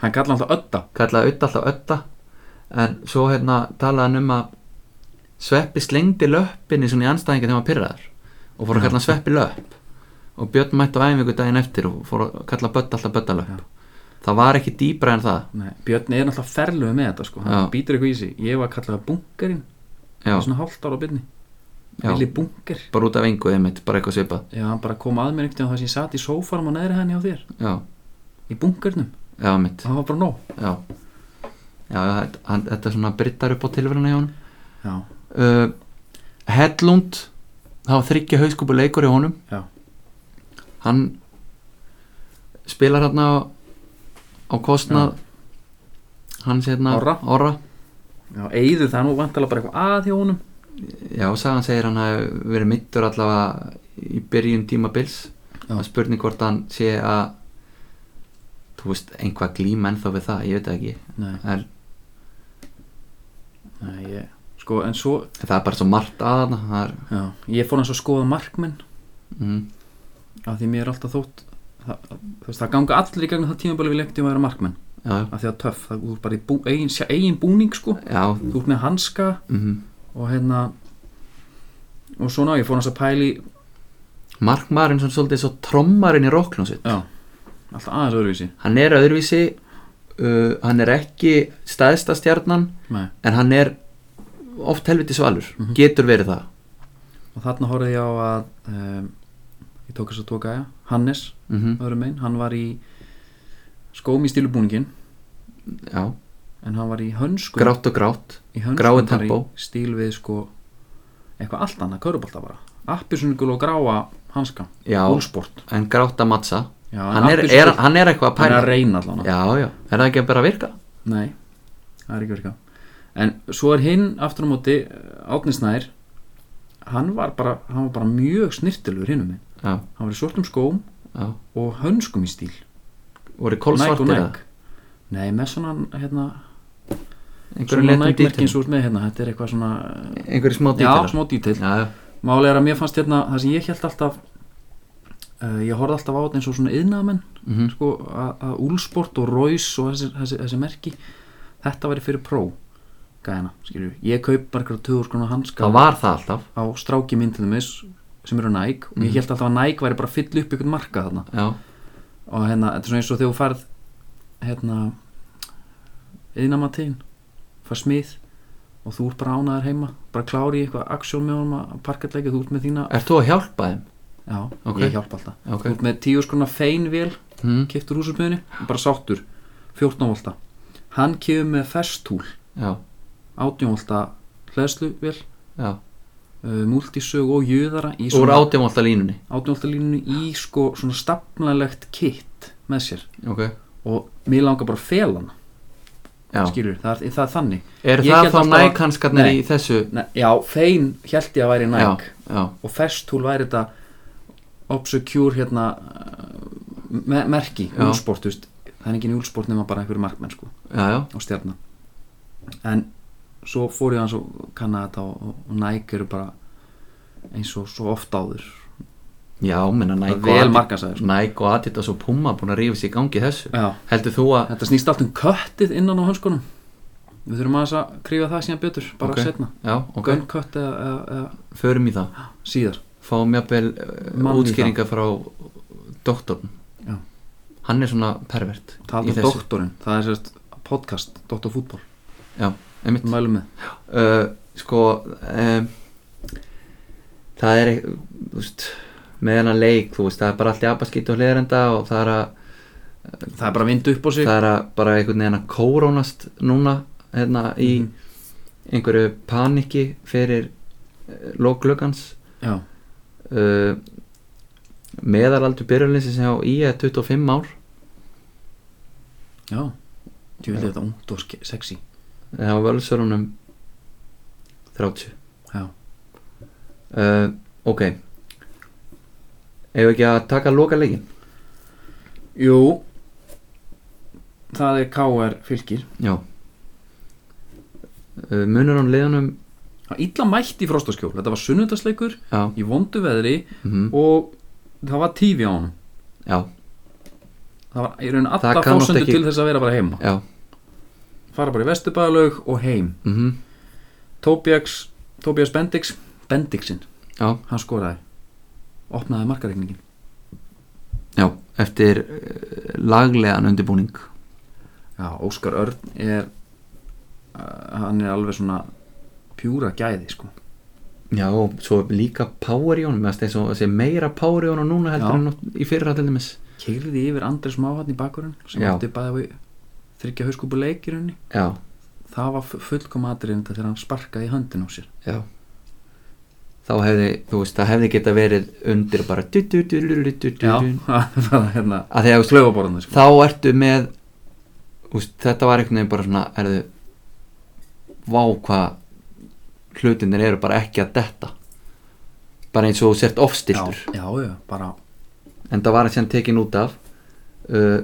Speaker 1: hann kallar alltaf ödda
Speaker 2: kallaði Ötta alltaf Ötta en svo hérna talaði hann um að Sveppi slengdi löppinni svona í anstæðingar þegar hann var pyrraður og fór að kalla hann Sveppi löpp og Björn mætti á æfingu daginn eftir og fór að kalla Bötta alltaf Bötta löpp það var ekki dýbra en það
Speaker 1: Nei, Björn er náttúrulega ferluð með þetta sko, hann
Speaker 2: Já.
Speaker 1: býtur eitthvað í sig ég var kallaði bunkerinn,
Speaker 2: já,
Speaker 1: svona hálft ára á byrni
Speaker 2: Já.
Speaker 1: Vili bunker,
Speaker 2: bara út af engu einmitt, bara eitthvað svipað
Speaker 1: já hann bara kom að mér einhvern veginn þar sem ég satt í sófanum á neðri henni á þér
Speaker 2: já,
Speaker 1: í bunkernum,
Speaker 2: já, mitt já,
Speaker 1: það var bara nóg
Speaker 2: já, já þetta- hann, þetta er svona brittar upp á tilveruna hjá honum
Speaker 1: já,
Speaker 2: uh, Hedlund það var þryggja hauskúpu leikur hjá honum
Speaker 1: já,
Speaker 2: hann spilar hérna á, á kostnað hans hérna
Speaker 1: Orra.
Speaker 2: orra.
Speaker 1: já eyður það nú vantala bara eitthvað að hjá honum
Speaker 2: Já, sagan segir hann að verið mittur allavega í byrjun tímabils
Speaker 1: Já.
Speaker 2: og spurning hvort hann sé að þú veist, einhvað glím ennþá við það, ég veit það ekki
Speaker 1: nei,
Speaker 2: en
Speaker 1: nei, ég, sko en svo
Speaker 2: það er bara svo margt að hann það er,
Speaker 1: já, ég fór hans að skoða markmenn
Speaker 2: mm,
Speaker 1: af því mér er alltaf þótt það, þú veist, það ganga allir í gegnum það tímabölu við lektum að vera markmenn,
Speaker 2: já,
Speaker 1: af því að töff það þú er bara í bú, eigin, sjá- eigin búning sko
Speaker 2: já
Speaker 1: þú ert með hanska
Speaker 2: mm,
Speaker 1: og hérna og svona, ég fór hans að pæli
Speaker 2: markmaðurinn svona svolítið svo trommarinn í rocknúsitt
Speaker 1: já, alltaf aðeins öðruvísi
Speaker 2: hann er öðruvísi uh, hann er ekki stæðsta stjarnan
Speaker 1: Nei.
Speaker 2: en hann er oft helviti svalur,
Speaker 1: Mhm.
Speaker 2: getur verið það
Speaker 1: og þarna horfði ég á að um, ég tók þess að tóka aðja Hannes,
Speaker 2: mm
Speaker 1: öðrum einn, hann var í skóm í stílubúningin
Speaker 2: já,
Speaker 1: en hann var í hönskum
Speaker 2: grátt og grátt
Speaker 1: í hönskum
Speaker 2: gráu
Speaker 1: bara í
Speaker 2: tempó.
Speaker 1: stíl við sko eitthvað allt annað, körubolta bara appisunugul og gráa hanska
Speaker 2: Já.
Speaker 1: úlsport
Speaker 2: en grátt að mattsa
Speaker 1: Já, en
Speaker 2: hann er,
Speaker 1: appelsín-
Speaker 2: er, hann er eitthvað að
Speaker 1: hann er
Speaker 2: pæla
Speaker 1: að reyna allan
Speaker 2: já, já, er það ekki að bara að virka
Speaker 1: Nei, það er ekki virka En svo er hinn aftur á móti Átnisnær hann var bara, hann var bara mjög snirtilur hinnum minn,
Speaker 2: já,
Speaker 1: hann var í svartum skóm
Speaker 2: já,
Speaker 1: og hönskum í stíl
Speaker 2: voru
Speaker 1: Nike og
Speaker 2: kólsvartir eða
Speaker 1: Nike. Nei, með svona hérna,
Speaker 2: einhverju
Speaker 1: svona
Speaker 2: letum
Speaker 1: nægmerkin
Speaker 2: dítil
Speaker 1: svo ert með hérna, þetta er eitthvað svona eh,
Speaker 2: einhverju smá dítil
Speaker 1: Já, smá dítil
Speaker 2: já, já,
Speaker 1: Máli er að mér fannst hérna, það sem ég held alltaf uh, ég horfði alltaf á þetta eins og svona yðnaðamenn,
Speaker 2: Mhm.
Speaker 1: sko, að- að úlsport og rauðs og þessi, þessi, þessi merki þetta væri fyrir pró gæna, skilju, ég kaup bara eitthvað 2000 skrona hanska
Speaker 2: það var það alltaf
Speaker 1: á stráki minn til þeimis sem eru næk og
Speaker 2: Mhm.
Speaker 1: ég held alltaf að næk væri bara að fylla upp ykkur marka þarna
Speaker 2: já,
Speaker 1: og hérna, þetta er svona eins og þegar þú færð hérna yðnamatíðin, fær smið og þú ert bara ánaður heima bara klári í eitthvað aksjón með honum að parkettleikja þú ert með þína,
Speaker 2: ert þú að hjálpa þeim
Speaker 1: já,
Speaker 2: Eh, Ok.
Speaker 1: ég hjálpa alltaf
Speaker 2: ok,
Speaker 1: þú ert með tíu skrona feinvél
Speaker 2: mm,
Speaker 1: kiptur húsarbyrðinni, bara sáttur 14 volta, hann kefur með festúl,
Speaker 2: já,
Speaker 1: 18 volta hlæðsluvél,
Speaker 2: já
Speaker 1: uh, multisög og jöðara í
Speaker 2: úr átjámálta línunni
Speaker 1: átjónaldalínu í sko svona stafnalegt kitt með sér
Speaker 2: ok,
Speaker 1: og mér langar bara að fela hana
Speaker 2: já,
Speaker 1: skilur, það er, það er þannig
Speaker 2: er
Speaker 1: Ég
Speaker 2: það
Speaker 1: held
Speaker 2: þá
Speaker 1: alltaf að-
Speaker 2: nækanskarnir
Speaker 1: Nei.
Speaker 2: í þessu
Speaker 1: Nei, já, fein held ég að væri
Speaker 2: já,
Speaker 1: næk
Speaker 2: já,
Speaker 1: og festúl væri þetta obsecure hérna uh, me merki,
Speaker 2: Já.
Speaker 1: úlsport veist, það er engin úlsport nema bara einhverju markmenn sko,
Speaker 2: já, já,
Speaker 1: og stjarnan en svo fór ég hans og kanna þetta og, og- og næk eru bara eins og svo oft áður
Speaker 2: já, menna
Speaker 1: það
Speaker 2: Nike
Speaker 1: er
Speaker 2: og
Speaker 1: vel
Speaker 2: Adidas-
Speaker 1: markasæður sko.
Speaker 2: Nike og Adidas og Puma búin að rífa sér í gangi í þessu
Speaker 1: já
Speaker 2: heldur þú að,
Speaker 1: Þetta snýst allt um köttið innan á hönskunum Við þurfum aðeins að krífa það síðan betur bara
Speaker 2: Ok.
Speaker 1: okay. setna,
Speaker 2: já, ok,
Speaker 1: gun kött eða, eða, eða
Speaker 2: förum í það
Speaker 1: síðar
Speaker 2: fáum jafnvel uh,
Speaker 1: Mann í
Speaker 2: útskýringa frá doktorn
Speaker 1: Já.
Speaker 2: hann er svona pervert
Speaker 1: Talað um doktorinn, það er sérst podcast, doktorfútból,
Speaker 2: já, einmitt
Speaker 1: mælum með
Speaker 2: uh, sko um, það er ekk- þú veist, með hennar leik þú veist, það er bara allt í abaskýtt og hliðrenda og það er, að,
Speaker 1: Það er bara vind upp á sig
Speaker 2: það er að bara einhvern veginn að kórónast núna hérna í
Speaker 1: Mhm.
Speaker 2: einhverju paniki fyrir uh, lóklugans
Speaker 1: Já,
Speaker 2: uh, meðalaldur byrjulinsins hjá í er 25 ár
Speaker 1: já Þú vil þetta ungt og ske- sexy
Speaker 2: Það var völsörunum 30
Speaker 1: Já,
Speaker 2: uh, Ok Ef ekki að taka loka leikin
Speaker 1: jú Það er KR fylgir
Speaker 2: Já uh, Munur hann leiðunum
Speaker 1: Það illa mætt í frostaskjól, þetta var sunnudagsleikur
Speaker 2: Já,
Speaker 1: í vondu veðri
Speaker 2: mhm,
Speaker 1: og það var tífi á honum
Speaker 2: já,
Speaker 1: Það var í raun
Speaker 2: Það
Speaker 1: alla
Speaker 2: kann oft
Speaker 1: fósendu
Speaker 2: ekki-
Speaker 1: til þess að vera bara heima
Speaker 2: já
Speaker 1: fara bara í Vesturbæðalög og heim
Speaker 2: mhm,
Speaker 1: Tobias, Tobias Bendix Bendixin,
Speaker 2: Já,
Speaker 1: hann skoraði opnaði markareikningin
Speaker 2: já Eftir uh, eh, laglegan undirbúning
Speaker 1: Já, Óskar Örn er uh, hann er alveg svona pjúra gæði sko
Speaker 2: Já, og svo líka power í honum mér finnst eins og sé meira power í honum núna
Speaker 1: Já.
Speaker 2: heldur en nú- í fyrra til dæmis
Speaker 1: keirði yfir Andrés Mávatn í bakurinn sem
Speaker 2: Já.
Speaker 1: átti bæði við þryggja hauskúpu leik í rauninni
Speaker 2: Já,
Speaker 1: það var fullkom aðriðin þetta þegar hann sparkaði í höndin á sér
Speaker 2: já Þá hefði, þú veist, það hefði geta verið undir bara du, du, du, du, du, du, du,
Speaker 1: Já,
Speaker 2: du.
Speaker 1: það var hérna
Speaker 2: að því að þú veist,
Speaker 1: slöfaborðan sko.
Speaker 2: þá ertu með úst, þetta var einhvern veginn bara svona erðu vá hvað hlutinir eru bara ekki að detta bara eins og þú sért ofstiltur
Speaker 1: já, já, já, bara
Speaker 2: en það var að sem tekin út af uh,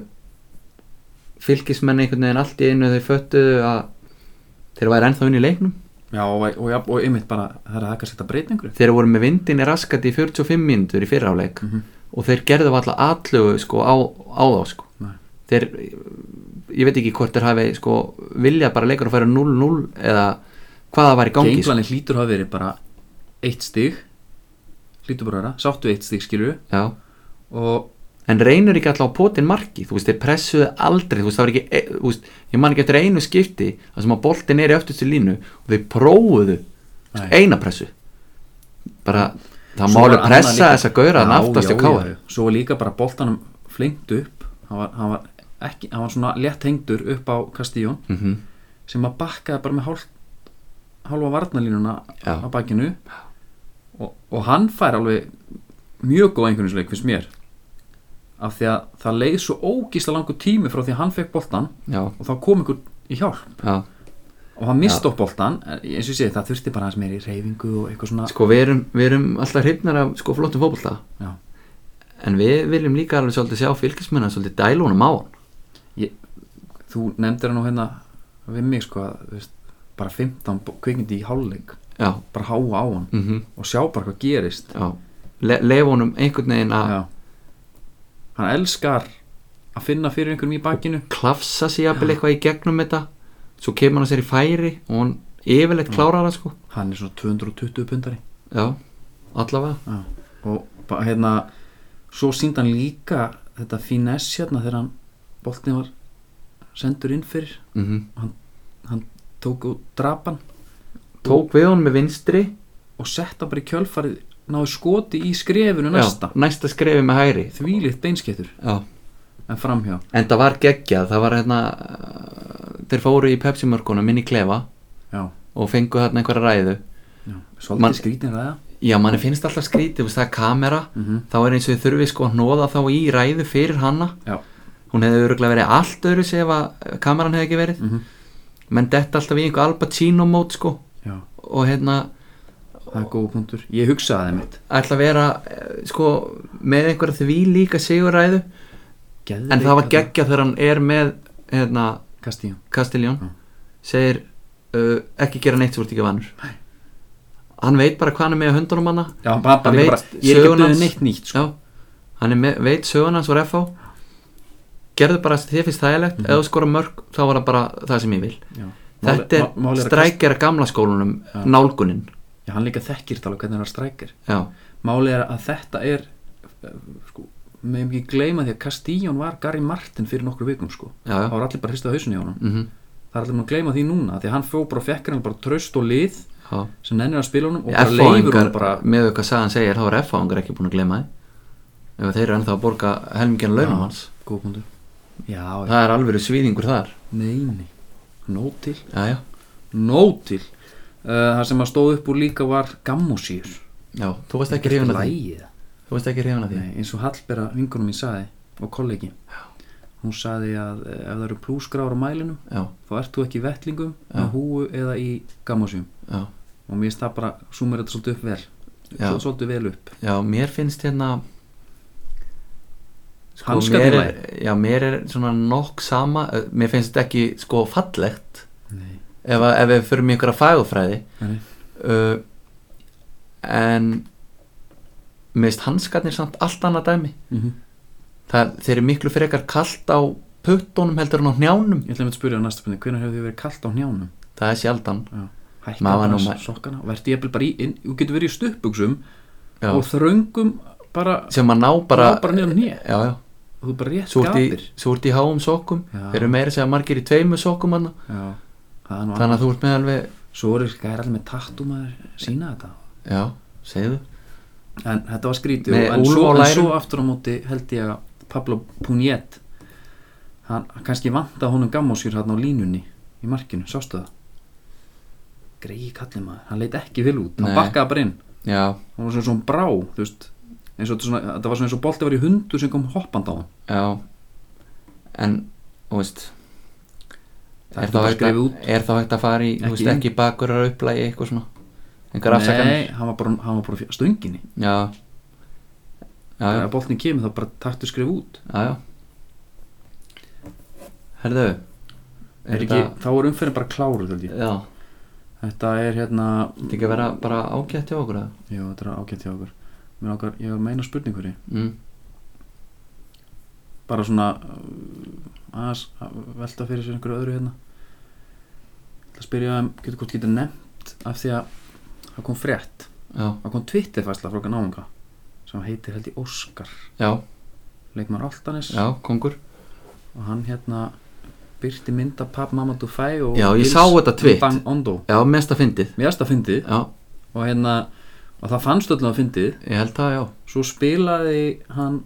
Speaker 2: fylgismenn einhvern veginn allt í einu þau föttuðu að þeir væri ennþá inn í leiknum
Speaker 1: já, og, og, og, og einmitt bara það er að ekki að setja breytingur
Speaker 2: þeir voru með vindinni raskat í 45 mínútur í fyrra áleik
Speaker 1: Mhm.
Speaker 2: og þeir gerðu alltaf atlögu sko, á, á þá sko.
Speaker 1: Nei.
Speaker 2: þeir ég veit ekki hvort þeir hafi sko, viljað bara leikur að færa 0-0 eða hvað það var í gangi sko.
Speaker 1: genglanir hlýtur hafa verið bara eitt stig hlýtur bara að vera, sáttu eitt stig skilur
Speaker 2: Já.
Speaker 1: og
Speaker 2: en reynur ekki alltaf á potin marki þú veist, þeir pressuðu aldrei þú veist, það var ekki, e, þú veist, ég man ekki eftir einu skipti það sem að boltin er í öftustu línu og þeir prófuðu
Speaker 1: Nei.
Speaker 2: eina pressu bara, það
Speaker 1: Svo
Speaker 2: má
Speaker 1: var
Speaker 2: alveg
Speaker 1: annað
Speaker 2: pressa
Speaker 1: líka-
Speaker 2: þess að gauðra
Speaker 1: Já,
Speaker 2: hann aftast
Speaker 1: já,
Speaker 2: hjá káa
Speaker 1: já, já. Svo var líka bara boltanum flengt upp hann var, hann var, ekki, hann var svona létt hengdur upp á Kastíjón
Speaker 2: mm
Speaker 1: sem að bakkaði bara með hálf, hálfa varnalínuna
Speaker 2: Já.
Speaker 1: á bakinu og, og hann fær alveg mjög góð einhverjumsleik fyrst mér af því að það leið svo ógísla langur tími frá því að hann fekk boltan
Speaker 2: já,
Speaker 1: og þá kom einhver í hjálp
Speaker 2: já
Speaker 1: og hann misti upp boltan en eins og ég segi það þurfti bara aðeins meiri reyfingu og eitthvað svona
Speaker 2: sko við erum, við erum alltaf hrifnar af sko flottum fótbolta
Speaker 1: Já.
Speaker 2: en við viljum líka alveg svolítið sjá fylgismenn að svolítið dæla honum á hann
Speaker 1: þú nefndir hann nú hérna við mig sko að þú veist, bara 15 bo- kvikindi í hálfleik
Speaker 2: já,
Speaker 1: bara háa á hann
Speaker 2: mm
Speaker 1: og sjá bara hvað gerist
Speaker 2: já Le leif honum einhvern veginn að
Speaker 1: Já. hann elskar að finna fyrir einhverjum í bakinu
Speaker 2: klafsa sig jafnvel eitthvað í gegnum þetta svo kemur hann sér í færi og hann yfirleitt klárar það sko
Speaker 1: hann er svona 220 pundari
Speaker 2: já, allavega
Speaker 1: Já. og bara hérna svo sínd hann líka þetta finess hérna þegar hann boltin var sendur inn fyrir
Speaker 2: mm
Speaker 1: hann tók út drapan
Speaker 2: tók við honum með vinstri
Speaker 1: og sett hann bara í kjölfarið náðu skoti í skrefinu næsta
Speaker 2: já, næsta skrefi með hæri
Speaker 1: þvílitt beinskettur
Speaker 2: já
Speaker 1: en framhjá
Speaker 2: En það var geggjað, það var hérna uh, þeir fóru í Pepsi-mörkunum inn í klefa
Speaker 1: já,
Speaker 2: og fengu þarna einhverja ræðu
Speaker 1: já. svolítið
Speaker 2: Man-
Speaker 1: Man... skrítin ræða
Speaker 2: Já, manni finnst alltaf skrítið, þú veist, það er kamera
Speaker 1: Mhm.
Speaker 2: þá er eins og þau þurfi sko að hnoða þá í ræðu fyrir hanna
Speaker 1: já,
Speaker 2: hún hefði öruglega verið allt öðru sem ef að eh, kameran hefði ekki verið
Speaker 1: Mhm.
Speaker 2: menn detta alltaf í einhver Al Pacino mót sko
Speaker 1: já,
Speaker 2: og hérna
Speaker 1: það er góð punktur ég hugsaði það mitt
Speaker 2: ætla að vera eh, sko með einhverja því líka siguræðu
Speaker 1: Geðveik
Speaker 2: en það var
Speaker 1: þarna.
Speaker 2: geggjað þegar hann er með hérna
Speaker 1: Castillo
Speaker 2: Castelljón
Speaker 1: Já.
Speaker 2: segir uh, ekki gera neitt svo ert ekki vanur hann veit bara hvað hann er með í höndunum hana
Speaker 1: Já, hann bara,
Speaker 2: Hann
Speaker 1: bara,
Speaker 2: veit
Speaker 1: bara, ég er ekki að
Speaker 2: söguna
Speaker 1: byrja
Speaker 2: hans.
Speaker 1: neitt nýtt sko.
Speaker 2: já, hann er með, veit söguna hans voru FH gerðu bara það sem þér finnst þægilegt
Speaker 1: Mhm.
Speaker 2: mm -hmm. eða skora mörg þá var það bara það sem ég vil
Speaker 1: Já.
Speaker 2: þetta er
Speaker 1: Mál- mál að Kast-
Speaker 2: strækjara gamla skólunum
Speaker 1: Já.
Speaker 2: nálgunin
Speaker 1: Já, hann líka þekkir þetta alveg hvernig hann var strækir
Speaker 2: já,
Speaker 1: Máli er að þetta er eh, sko, meðum ekki gleyma því að Castillo var Gary Martin fyrir nokkru vikum sko.
Speaker 2: já, já.
Speaker 1: það var allir bara hristað hausinni á honum
Speaker 2: Mm
Speaker 1: það er allir maður að gleyma því núna því að hann fór bara og fekk hann bara traust og lið
Speaker 2: já.
Speaker 1: sem nennir að spila honum og bara leifur
Speaker 2: F-fáingar,
Speaker 1: hann bara
Speaker 2: með því hvað sagan segir þá er F-fáingar ekki búin að gleyma þið ef þeir eru ennþá að borga helmingin launum
Speaker 1: Já.
Speaker 2: hans
Speaker 1: góðbundur Já, já,
Speaker 2: það er alveg svíðingur þar
Speaker 1: neini Nót til
Speaker 2: já, já,
Speaker 1: Nót til uh, Það sem að stóð upp úr líka var gammúsýr
Speaker 2: já, þú varst ekki hrifin að því
Speaker 1: Lægið
Speaker 2: Þú veist ekki hrifin að því?
Speaker 1: Nei, eins og Hallbera vingunum mín saði og kollegi hún saði að eh, ef það eru plúsgráður á mælinum
Speaker 2: Já,
Speaker 1: þá ert þú ekki í vettlingum með húu eða í gammasjum
Speaker 2: já,
Speaker 1: og mér finnst það bara, sumir þetta svolítið upp vel
Speaker 2: Já.
Speaker 1: Svo- svolítið vel upp
Speaker 2: já, mér finnst hérna
Speaker 1: Hanskarnir
Speaker 2: Sko, mér er, Já, mér er svona nokk sama eh, Mér finnst þetta ekki sko fallegt
Speaker 1: Nei.
Speaker 2: Ef, að- ef við förum í einhverja fagufræði
Speaker 1: Nei.
Speaker 2: uh, En Mér finnst hanskarnir samt allt annað dæmi
Speaker 1: Mhm.
Speaker 2: Það, Þeir eru miklu frekar kalt á puttunum heldur en á hnjánum
Speaker 1: ég ætla að spyrja á næsta spurning hvernig hefur þið verið kalt á hnjánum
Speaker 2: Það er sjaldan
Speaker 1: hækka
Speaker 2: Maður var nú
Speaker 1: bara
Speaker 2: ma-
Speaker 1: sokkana og verði ég bara í, inn, þú getur verið í stuppugsum
Speaker 2: já.
Speaker 1: og þröngum bara,
Speaker 2: Sem að ná bara
Speaker 1: ná bara niður nýja
Speaker 2: Já, já
Speaker 1: þú er bara rétt
Speaker 2: svo ert
Speaker 1: gapir
Speaker 2: í- svo ert í háum sokkum
Speaker 1: Já.
Speaker 2: eru meira sem margir í tveimur sokkum hana,
Speaker 1: já, það er nú
Speaker 2: þannig að þú ert með alveg
Speaker 1: svo eru skæri allir með tattum að sína þetta
Speaker 2: já, segðu
Speaker 1: en þetta var skrítið
Speaker 2: Með
Speaker 1: og- en
Speaker 2: úlf
Speaker 1: svo,
Speaker 2: á
Speaker 1: en
Speaker 2: lærum.
Speaker 1: svo aftur á móti held ég að Pablo Pugnet hann hann kannski vanta honum gammóskjur hann á línunni í markinu, sástu það greiði kallið maður, hann leit ekki vel út hann
Speaker 2: Nei.
Speaker 1: bakkaði bara inn,
Speaker 2: já,
Speaker 1: hann var svona svona brá þú veist, eins og þetta svona, þetta var svona eins og bolti var í hundu sem kom hoppand á hann
Speaker 2: já en, þú veist
Speaker 1: Það
Speaker 2: er
Speaker 1: er
Speaker 2: þá
Speaker 1: bara
Speaker 2: hægt að,
Speaker 1: skrifað út.
Speaker 2: er þá hægt að fara í, þú
Speaker 1: Ekki
Speaker 2: veist,
Speaker 1: inn.
Speaker 2: ekki bakurar upplægi eitthvað svona einhver afsakanir
Speaker 1: nei, hann var bara, um- hann var bara á fjö- stönginni
Speaker 2: já, já, já,
Speaker 1: þegar boltin kemur þá bara taktu skrif út
Speaker 2: já, já. herðu
Speaker 1: er ekki, þá er umferðin bara kláruð held ég.
Speaker 2: já,
Speaker 1: þetta er hérna
Speaker 2: þetta ekki að vera bara ágætt hjá okkur eða?
Speaker 1: jú, þetta er ágætt hjá okkur Mér langar, ég er meina spurningur í
Speaker 2: mm.
Speaker 1: bara svona uh, aðeins að velta fyrir sér einhverju öðru hérna það spyrja um getur hvort getur nefnt af því að það kom frétt
Speaker 2: já,
Speaker 1: það kom Twitterfæsla frá Gnáunga sem heitir held ég Óskar
Speaker 2: já,
Speaker 1: leikmar Altanis
Speaker 2: já, kongur
Speaker 1: og hann hérna byrti mynda Pab Mamma Dufay og
Speaker 2: Já, ég sá þetta twitt.
Speaker 1: Dang Ondo
Speaker 2: já, mesta fyndið
Speaker 1: mér erst að fyndið
Speaker 2: já,
Speaker 1: og hérna og það fannst öllum að fyndið
Speaker 2: ég held það, já
Speaker 1: svo spilaði hann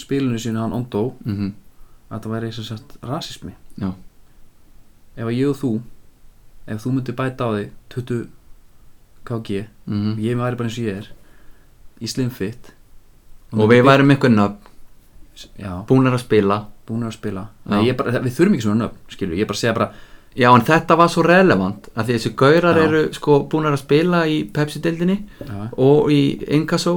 Speaker 1: spilinu sínu hann Ondo
Speaker 2: mm
Speaker 1: að þetta væri sem sagt rasismi
Speaker 2: já,
Speaker 1: ef að ég og þú ef þú myndir bæta á þig 20 kg
Speaker 2: mm
Speaker 1: og ég væri bara eins og ég er í slimfit
Speaker 2: og við værum einhvern nöfn
Speaker 1: já,
Speaker 2: búnir að spila
Speaker 1: búin að spila
Speaker 2: Já.
Speaker 1: Nei, ég bara, við þurfum ekki svona nöfn skilur, ég bara segja bara
Speaker 2: já, en þetta var svo relevant að því þessi gaurar
Speaker 1: Já.
Speaker 2: eru sko búnir að spila í Pepsi-dildinni
Speaker 1: já,
Speaker 2: og í Inkasso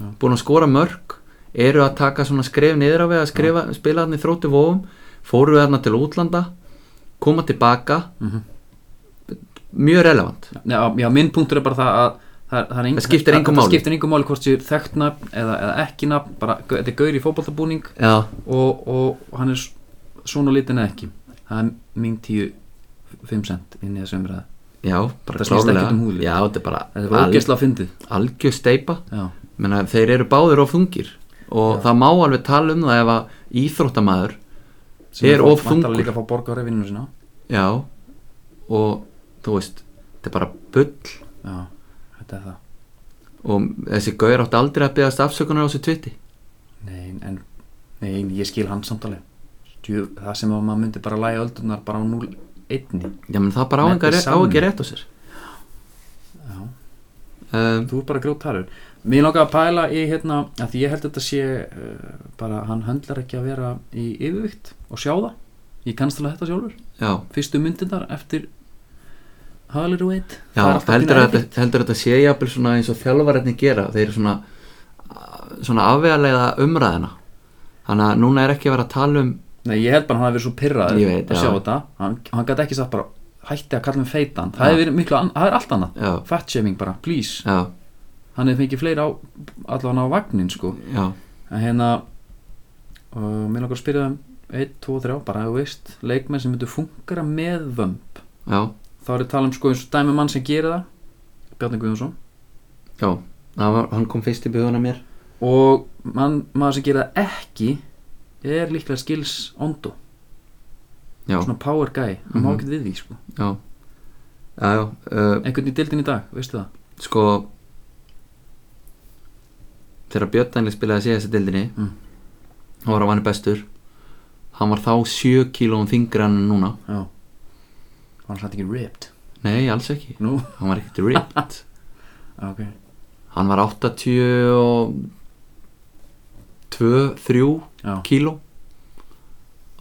Speaker 1: Já.
Speaker 2: búin að skora mörg eru að taka svona skref niður á við að skrifa, spila þarna í þrótti vóum fóru þarna til útlanda koma tilbaka
Speaker 1: mhm.
Speaker 2: mjög relevant
Speaker 1: já, já, minn punktur er bara það að það, er- er
Speaker 2: Það skiptir engu
Speaker 1: það-
Speaker 2: máli.
Speaker 1: það skiptir engum máli hvort séu þekkt nafn eða, eða ekki nafn bara, gau- þetta er gaur í fótballtabúning
Speaker 2: já,
Speaker 1: og, og hann er s- svona litin eða ekki það er mín 10 5 cent inn í þessu umræðu
Speaker 2: já, bara
Speaker 1: Þetta snýst
Speaker 2: klárlega.
Speaker 1: ekkert um húðlit.
Speaker 2: já, þetta er bara
Speaker 1: þetta var ógeðslega fyndið
Speaker 2: algjör steipa
Speaker 1: já,
Speaker 2: Menna, þeir eru báðir of þungir og það má alveg tala um það ef að íþróttamaður
Speaker 1: sem
Speaker 2: er
Speaker 1: fá-
Speaker 2: of
Speaker 1: væntanlega
Speaker 2: þungur.
Speaker 1: líka að fá borga á revinnum sína
Speaker 2: já, og þú veist, þetta er bara bull
Speaker 1: já, þetta er það
Speaker 2: og þessi gauður átti aldrei að beðast afsökunar á þessu tvitti
Speaker 1: nei, en, nei, en ég skil hann samtalið Djú, það sem að maður myndi bara lægi öldurnar bara á 0-1
Speaker 2: Já, menn það bara á,
Speaker 1: Þetta
Speaker 2: enga,
Speaker 1: er
Speaker 2: á
Speaker 1: samning.
Speaker 2: ekki rétt á sér
Speaker 1: já,
Speaker 2: um,
Speaker 1: þú er bara grjótarur mér langar að pæla í hérna að því ég held að þetta sé uh, bara hann höndlar ekki að vera í yfirvikt og sjá það, ég kannst alveg þetta sjálfur
Speaker 2: Já,
Speaker 1: fyrstu myndindar eftir Hollywood
Speaker 2: já
Speaker 1: Það er alltaf
Speaker 2: heldur,
Speaker 1: pínu
Speaker 2: að, þetta- heldur að þetta sé jafnvel svona eins og þjálfarætni gera þeir eru svona, svona afvegaleiða umræðina þannig að núna er ekki að vera að tala um
Speaker 1: Nei, ég held bara að hann hafi verið svo
Speaker 2: Ég
Speaker 1: pyrraður
Speaker 2: veit,
Speaker 1: að
Speaker 2: já.
Speaker 1: sjá þetta hann, hann gæti ekki sagt bara hætti að kalla mig feitan það
Speaker 2: Já.
Speaker 1: hefur verið miklu, ann- það er allt annað
Speaker 2: Já,
Speaker 1: fatshaming bara, please
Speaker 2: já,
Speaker 1: hann hefur fengið fleiri á, allan á vagnin sko
Speaker 2: já,
Speaker 1: en hérna og mér langar að spyrja um 1, 2, 3, bara þú veist leikmenn sem myndu fungera með vömb
Speaker 2: já,
Speaker 1: þá er ég að tala um sko eins og dæmi mann sem gerir það Bjarni Guðjónsson
Speaker 2: já. Það Var, hann kom fyrst í byggðuna mér
Speaker 1: og mann, maður sem gerir það ekki er líklega skils ondo
Speaker 2: Já,
Speaker 1: svona power guy, hann má
Speaker 2: Mhm.
Speaker 1: ekki við því sko.
Speaker 2: já, já, já uh,
Speaker 1: einhvern í dildin í dag, veistu það
Speaker 2: sko þegar Björn Daniel spilaði síðast í dildinni
Speaker 1: Mm.
Speaker 2: hann var að vanni bestur hann var þá 7 kílóum þingri en hann er núna
Speaker 1: já var hann satt ekki ripped
Speaker 2: nei, alls ekki,
Speaker 1: nú,
Speaker 2: hann var ekkert ripped
Speaker 1: Já, ok,
Speaker 2: hann var 80 og 2, 3
Speaker 1: já,
Speaker 2: kíló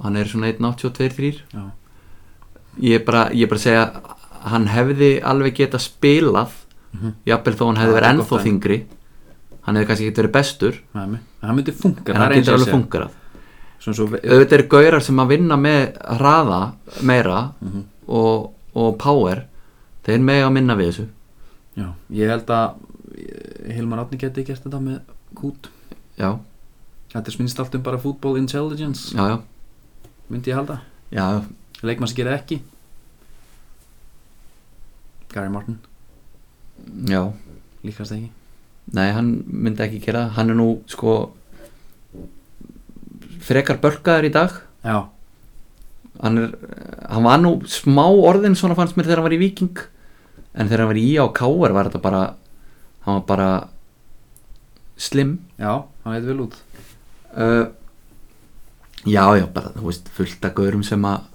Speaker 2: hann er svona 1,82, 3
Speaker 1: já
Speaker 2: ég er bara, ég er bara að segja hann hefði alveg geta spilað
Speaker 1: Mhm.
Speaker 2: jafnvel þó hann hefði
Speaker 1: Það er
Speaker 2: verið
Speaker 1: gott
Speaker 2: ennþá
Speaker 1: dæmi.
Speaker 2: þingri hann hefði kannski geta verið bestur
Speaker 1: Nei, nei, hann myndi funka
Speaker 2: en hann getur alveg funkarað
Speaker 1: svona svo,
Speaker 2: auðvitað eru gaurar sem að vinna með hraða meira
Speaker 1: Mhm.
Speaker 2: og, og power þeir mega að minna við þessu
Speaker 1: já, ég held að eh, Hilmar Átni geti gert þetta með kút
Speaker 2: já,
Speaker 1: þetta er sminnst allt um bara football intelligence
Speaker 2: já, já,
Speaker 1: myndi ég halda,
Speaker 2: já,
Speaker 1: leikmann sem gerir það ekki Gary Martin,
Speaker 2: já.
Speaker 1: líkast ekki
Speaker 2: nei, hann myndi ekki gera það hann er nú sko frekar bölkaður í dag
Speaker 1: já,
Speaker 2: hann, er, hann var nú smá orðin svona fannst mér þegar hann var í Viking en þegar hann var í á Káar var þetta bara hann var bara slim
Speaker 1: já, hann leit vel út
Speaker 2: uh, já já bara þú veist fullt að gaurum sem að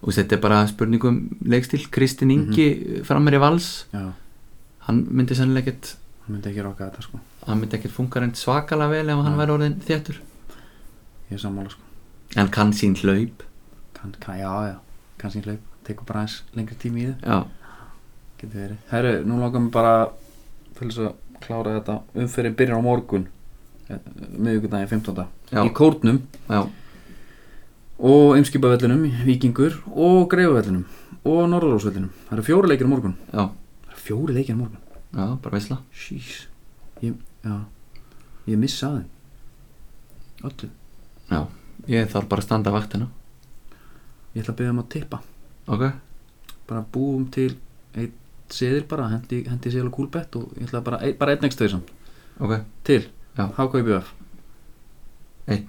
Speaker 2: þú veist, þetta er bara spurningum leikstil Kristinn Ingi mm -hmm. frammer í vals
Speaker 1: já,
Speaker 2: hann myndi sennilega ekkert
Speaker 1: hann myndi ekki ráka þetta sko
Speaker 2: hann myndi ekkert funka reynd svakalega vel ef hann
Speaker 1: Nei.
Speaker 2: væri orðin þéttur
Speaker 1: ég er sammála sko,
Speaker 2: en kann sín hlaup
Speaker 1: kann, kann, já, já kannski hlaup, tekur bara eins lengri tími í þið
Speaker 2: já,
Speaker 1: getur verið herru, nú langar mig bara til þess að klára þetta umferðin byrjar á morgun miðugundaginn 15.
Speaker 2: Já.
Speaker 1: í kórnum
Speaker 2: já,
Speaker 1: og eimskipavellinum, vikingur og greifavellinum og norðurósvellinum það eru fjóri leikir á morgun
Speaker 2: já,
Speaker 1: það eru fjóri leikir á morgun
Speaker 2: já bara veisla
Speaker 1: Jeez. ég, já, ég missa aðeim öllu
Speaker 2: já, ég þarf bara að standa vaktina
Speaker 1: ég ætla að byrja um að tippa
Speaker 2: ok,
Speaker 1: bara búum til einn seðil bara, hendi, hendi seðil og kúlbett og ég ætla bara, ein, bara einn ekstra þessum
Speaker 2: ok
Speaker 1: til,
Speaker 2: Já.
Speaker 1: HK í BF
Speaker 2: Einn.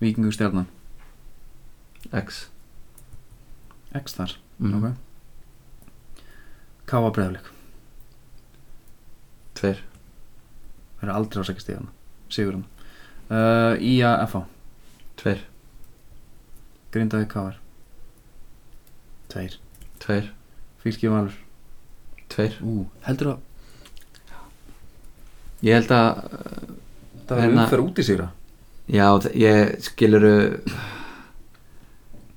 Speaker 1: Víkingur stjarnan,
Speaker 2: X
Speaker 1: X þar
Speaker 2: mm.
Speaker 1: ok Káa breyðuleik,
Speaker 2: Tveir
Speaker 1: það eru aldrei að sækja stíðana Sigurinn uh, Ía FH,
Speaker 2: Tveir
Speaker 1: Grindaði Káar Tveir
Speaker 2: Tveir
Speaker 1: Fylki Valur,
Speaker 2: Tveir
Speaker 1: ú, heldur að
Speaker 2: Ég held að
Speaker 1: það er
Speaker 2: Hérna-
Speaker 1: umferð út í sigra
Speaker 2: Já, þ- ég skilur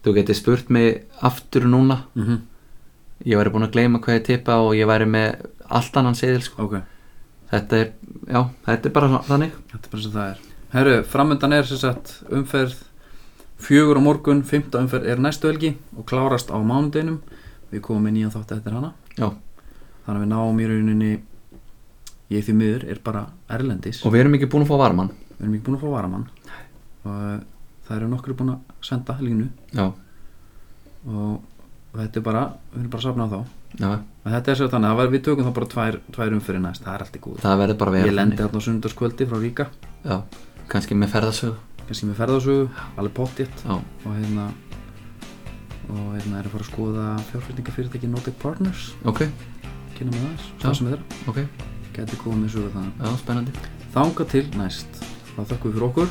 Speaker 2: Þú getur spurt mig aftur núna
Speaker 1: mm -hmm.
Speaker 2: Ég væri búin að gleyma hvað ég tippa og ég væri með allt annan seðil sko.
Speaker 1: Ok,
Speaker 2: Þetta er, já, þetta er bara svona- þannig
Speaker 1: þetta er bara sem það er Herru, framöndan er sem sagt umferð fjögur á morgun, fymta umferð er næstu helgi og klárast á mánudeginum við komum með nýjan þátt eftir hana
Speaker 2: Já.
Speaker 1: þannig að við náum í rauninni ég því miður er bara erlendis
Speaker 2: Og við erum ekki búin að fá varmann
Speaker 1: við erum ekki búin að fá varamann og eh, það eru nokkru búin að senda línu
Speaker 2: Já,
Speaker 1: og þetta er bara, við erum bara að safna á þá
Speaker 2: já,
Speaker 1: og þetta er sér þannig að það var- við tökum þá bara tvær, tvær umferði næst, það er allt í góð
Speaker 2: það verður bara að vera
Speaker 1: ég lendi
Speaker 2: þannig.
Speaker 1: hérna á sunnudagskvöldi frá Ríka
Speaker 2: Já, kannski með ferðasög
Speaker 1: kannski með ferðasögu, alveg pottjétt
Speaker 2: Já,
Speaker 1: og hérna og hérna er að fara að skoða fjárfyrtingafyrirtæki Nordic Partners
Speaker 2: ok,
Speaker 1: kynna með þess,
Speaker 2: Já.
Speaker 1: það sem þeirra
Speaker 2: ok,
Speaker 1: geti komið með sögu þannig
Speaker 2: já, spennandi
Speaker 1: þanga til næst, þá þökkum við fyrir okkur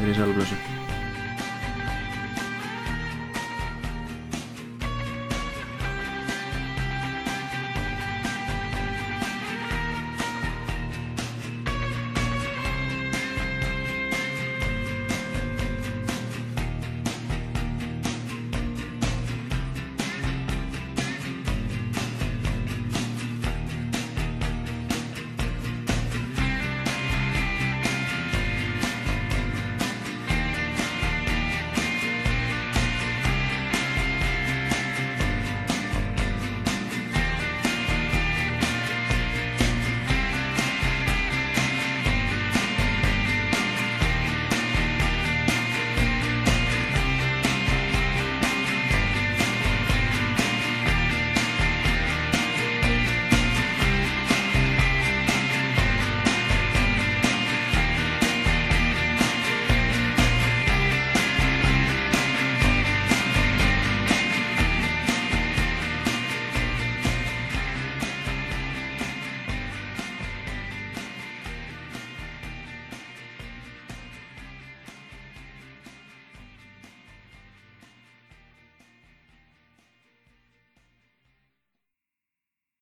Speaker 1: er í sælublössu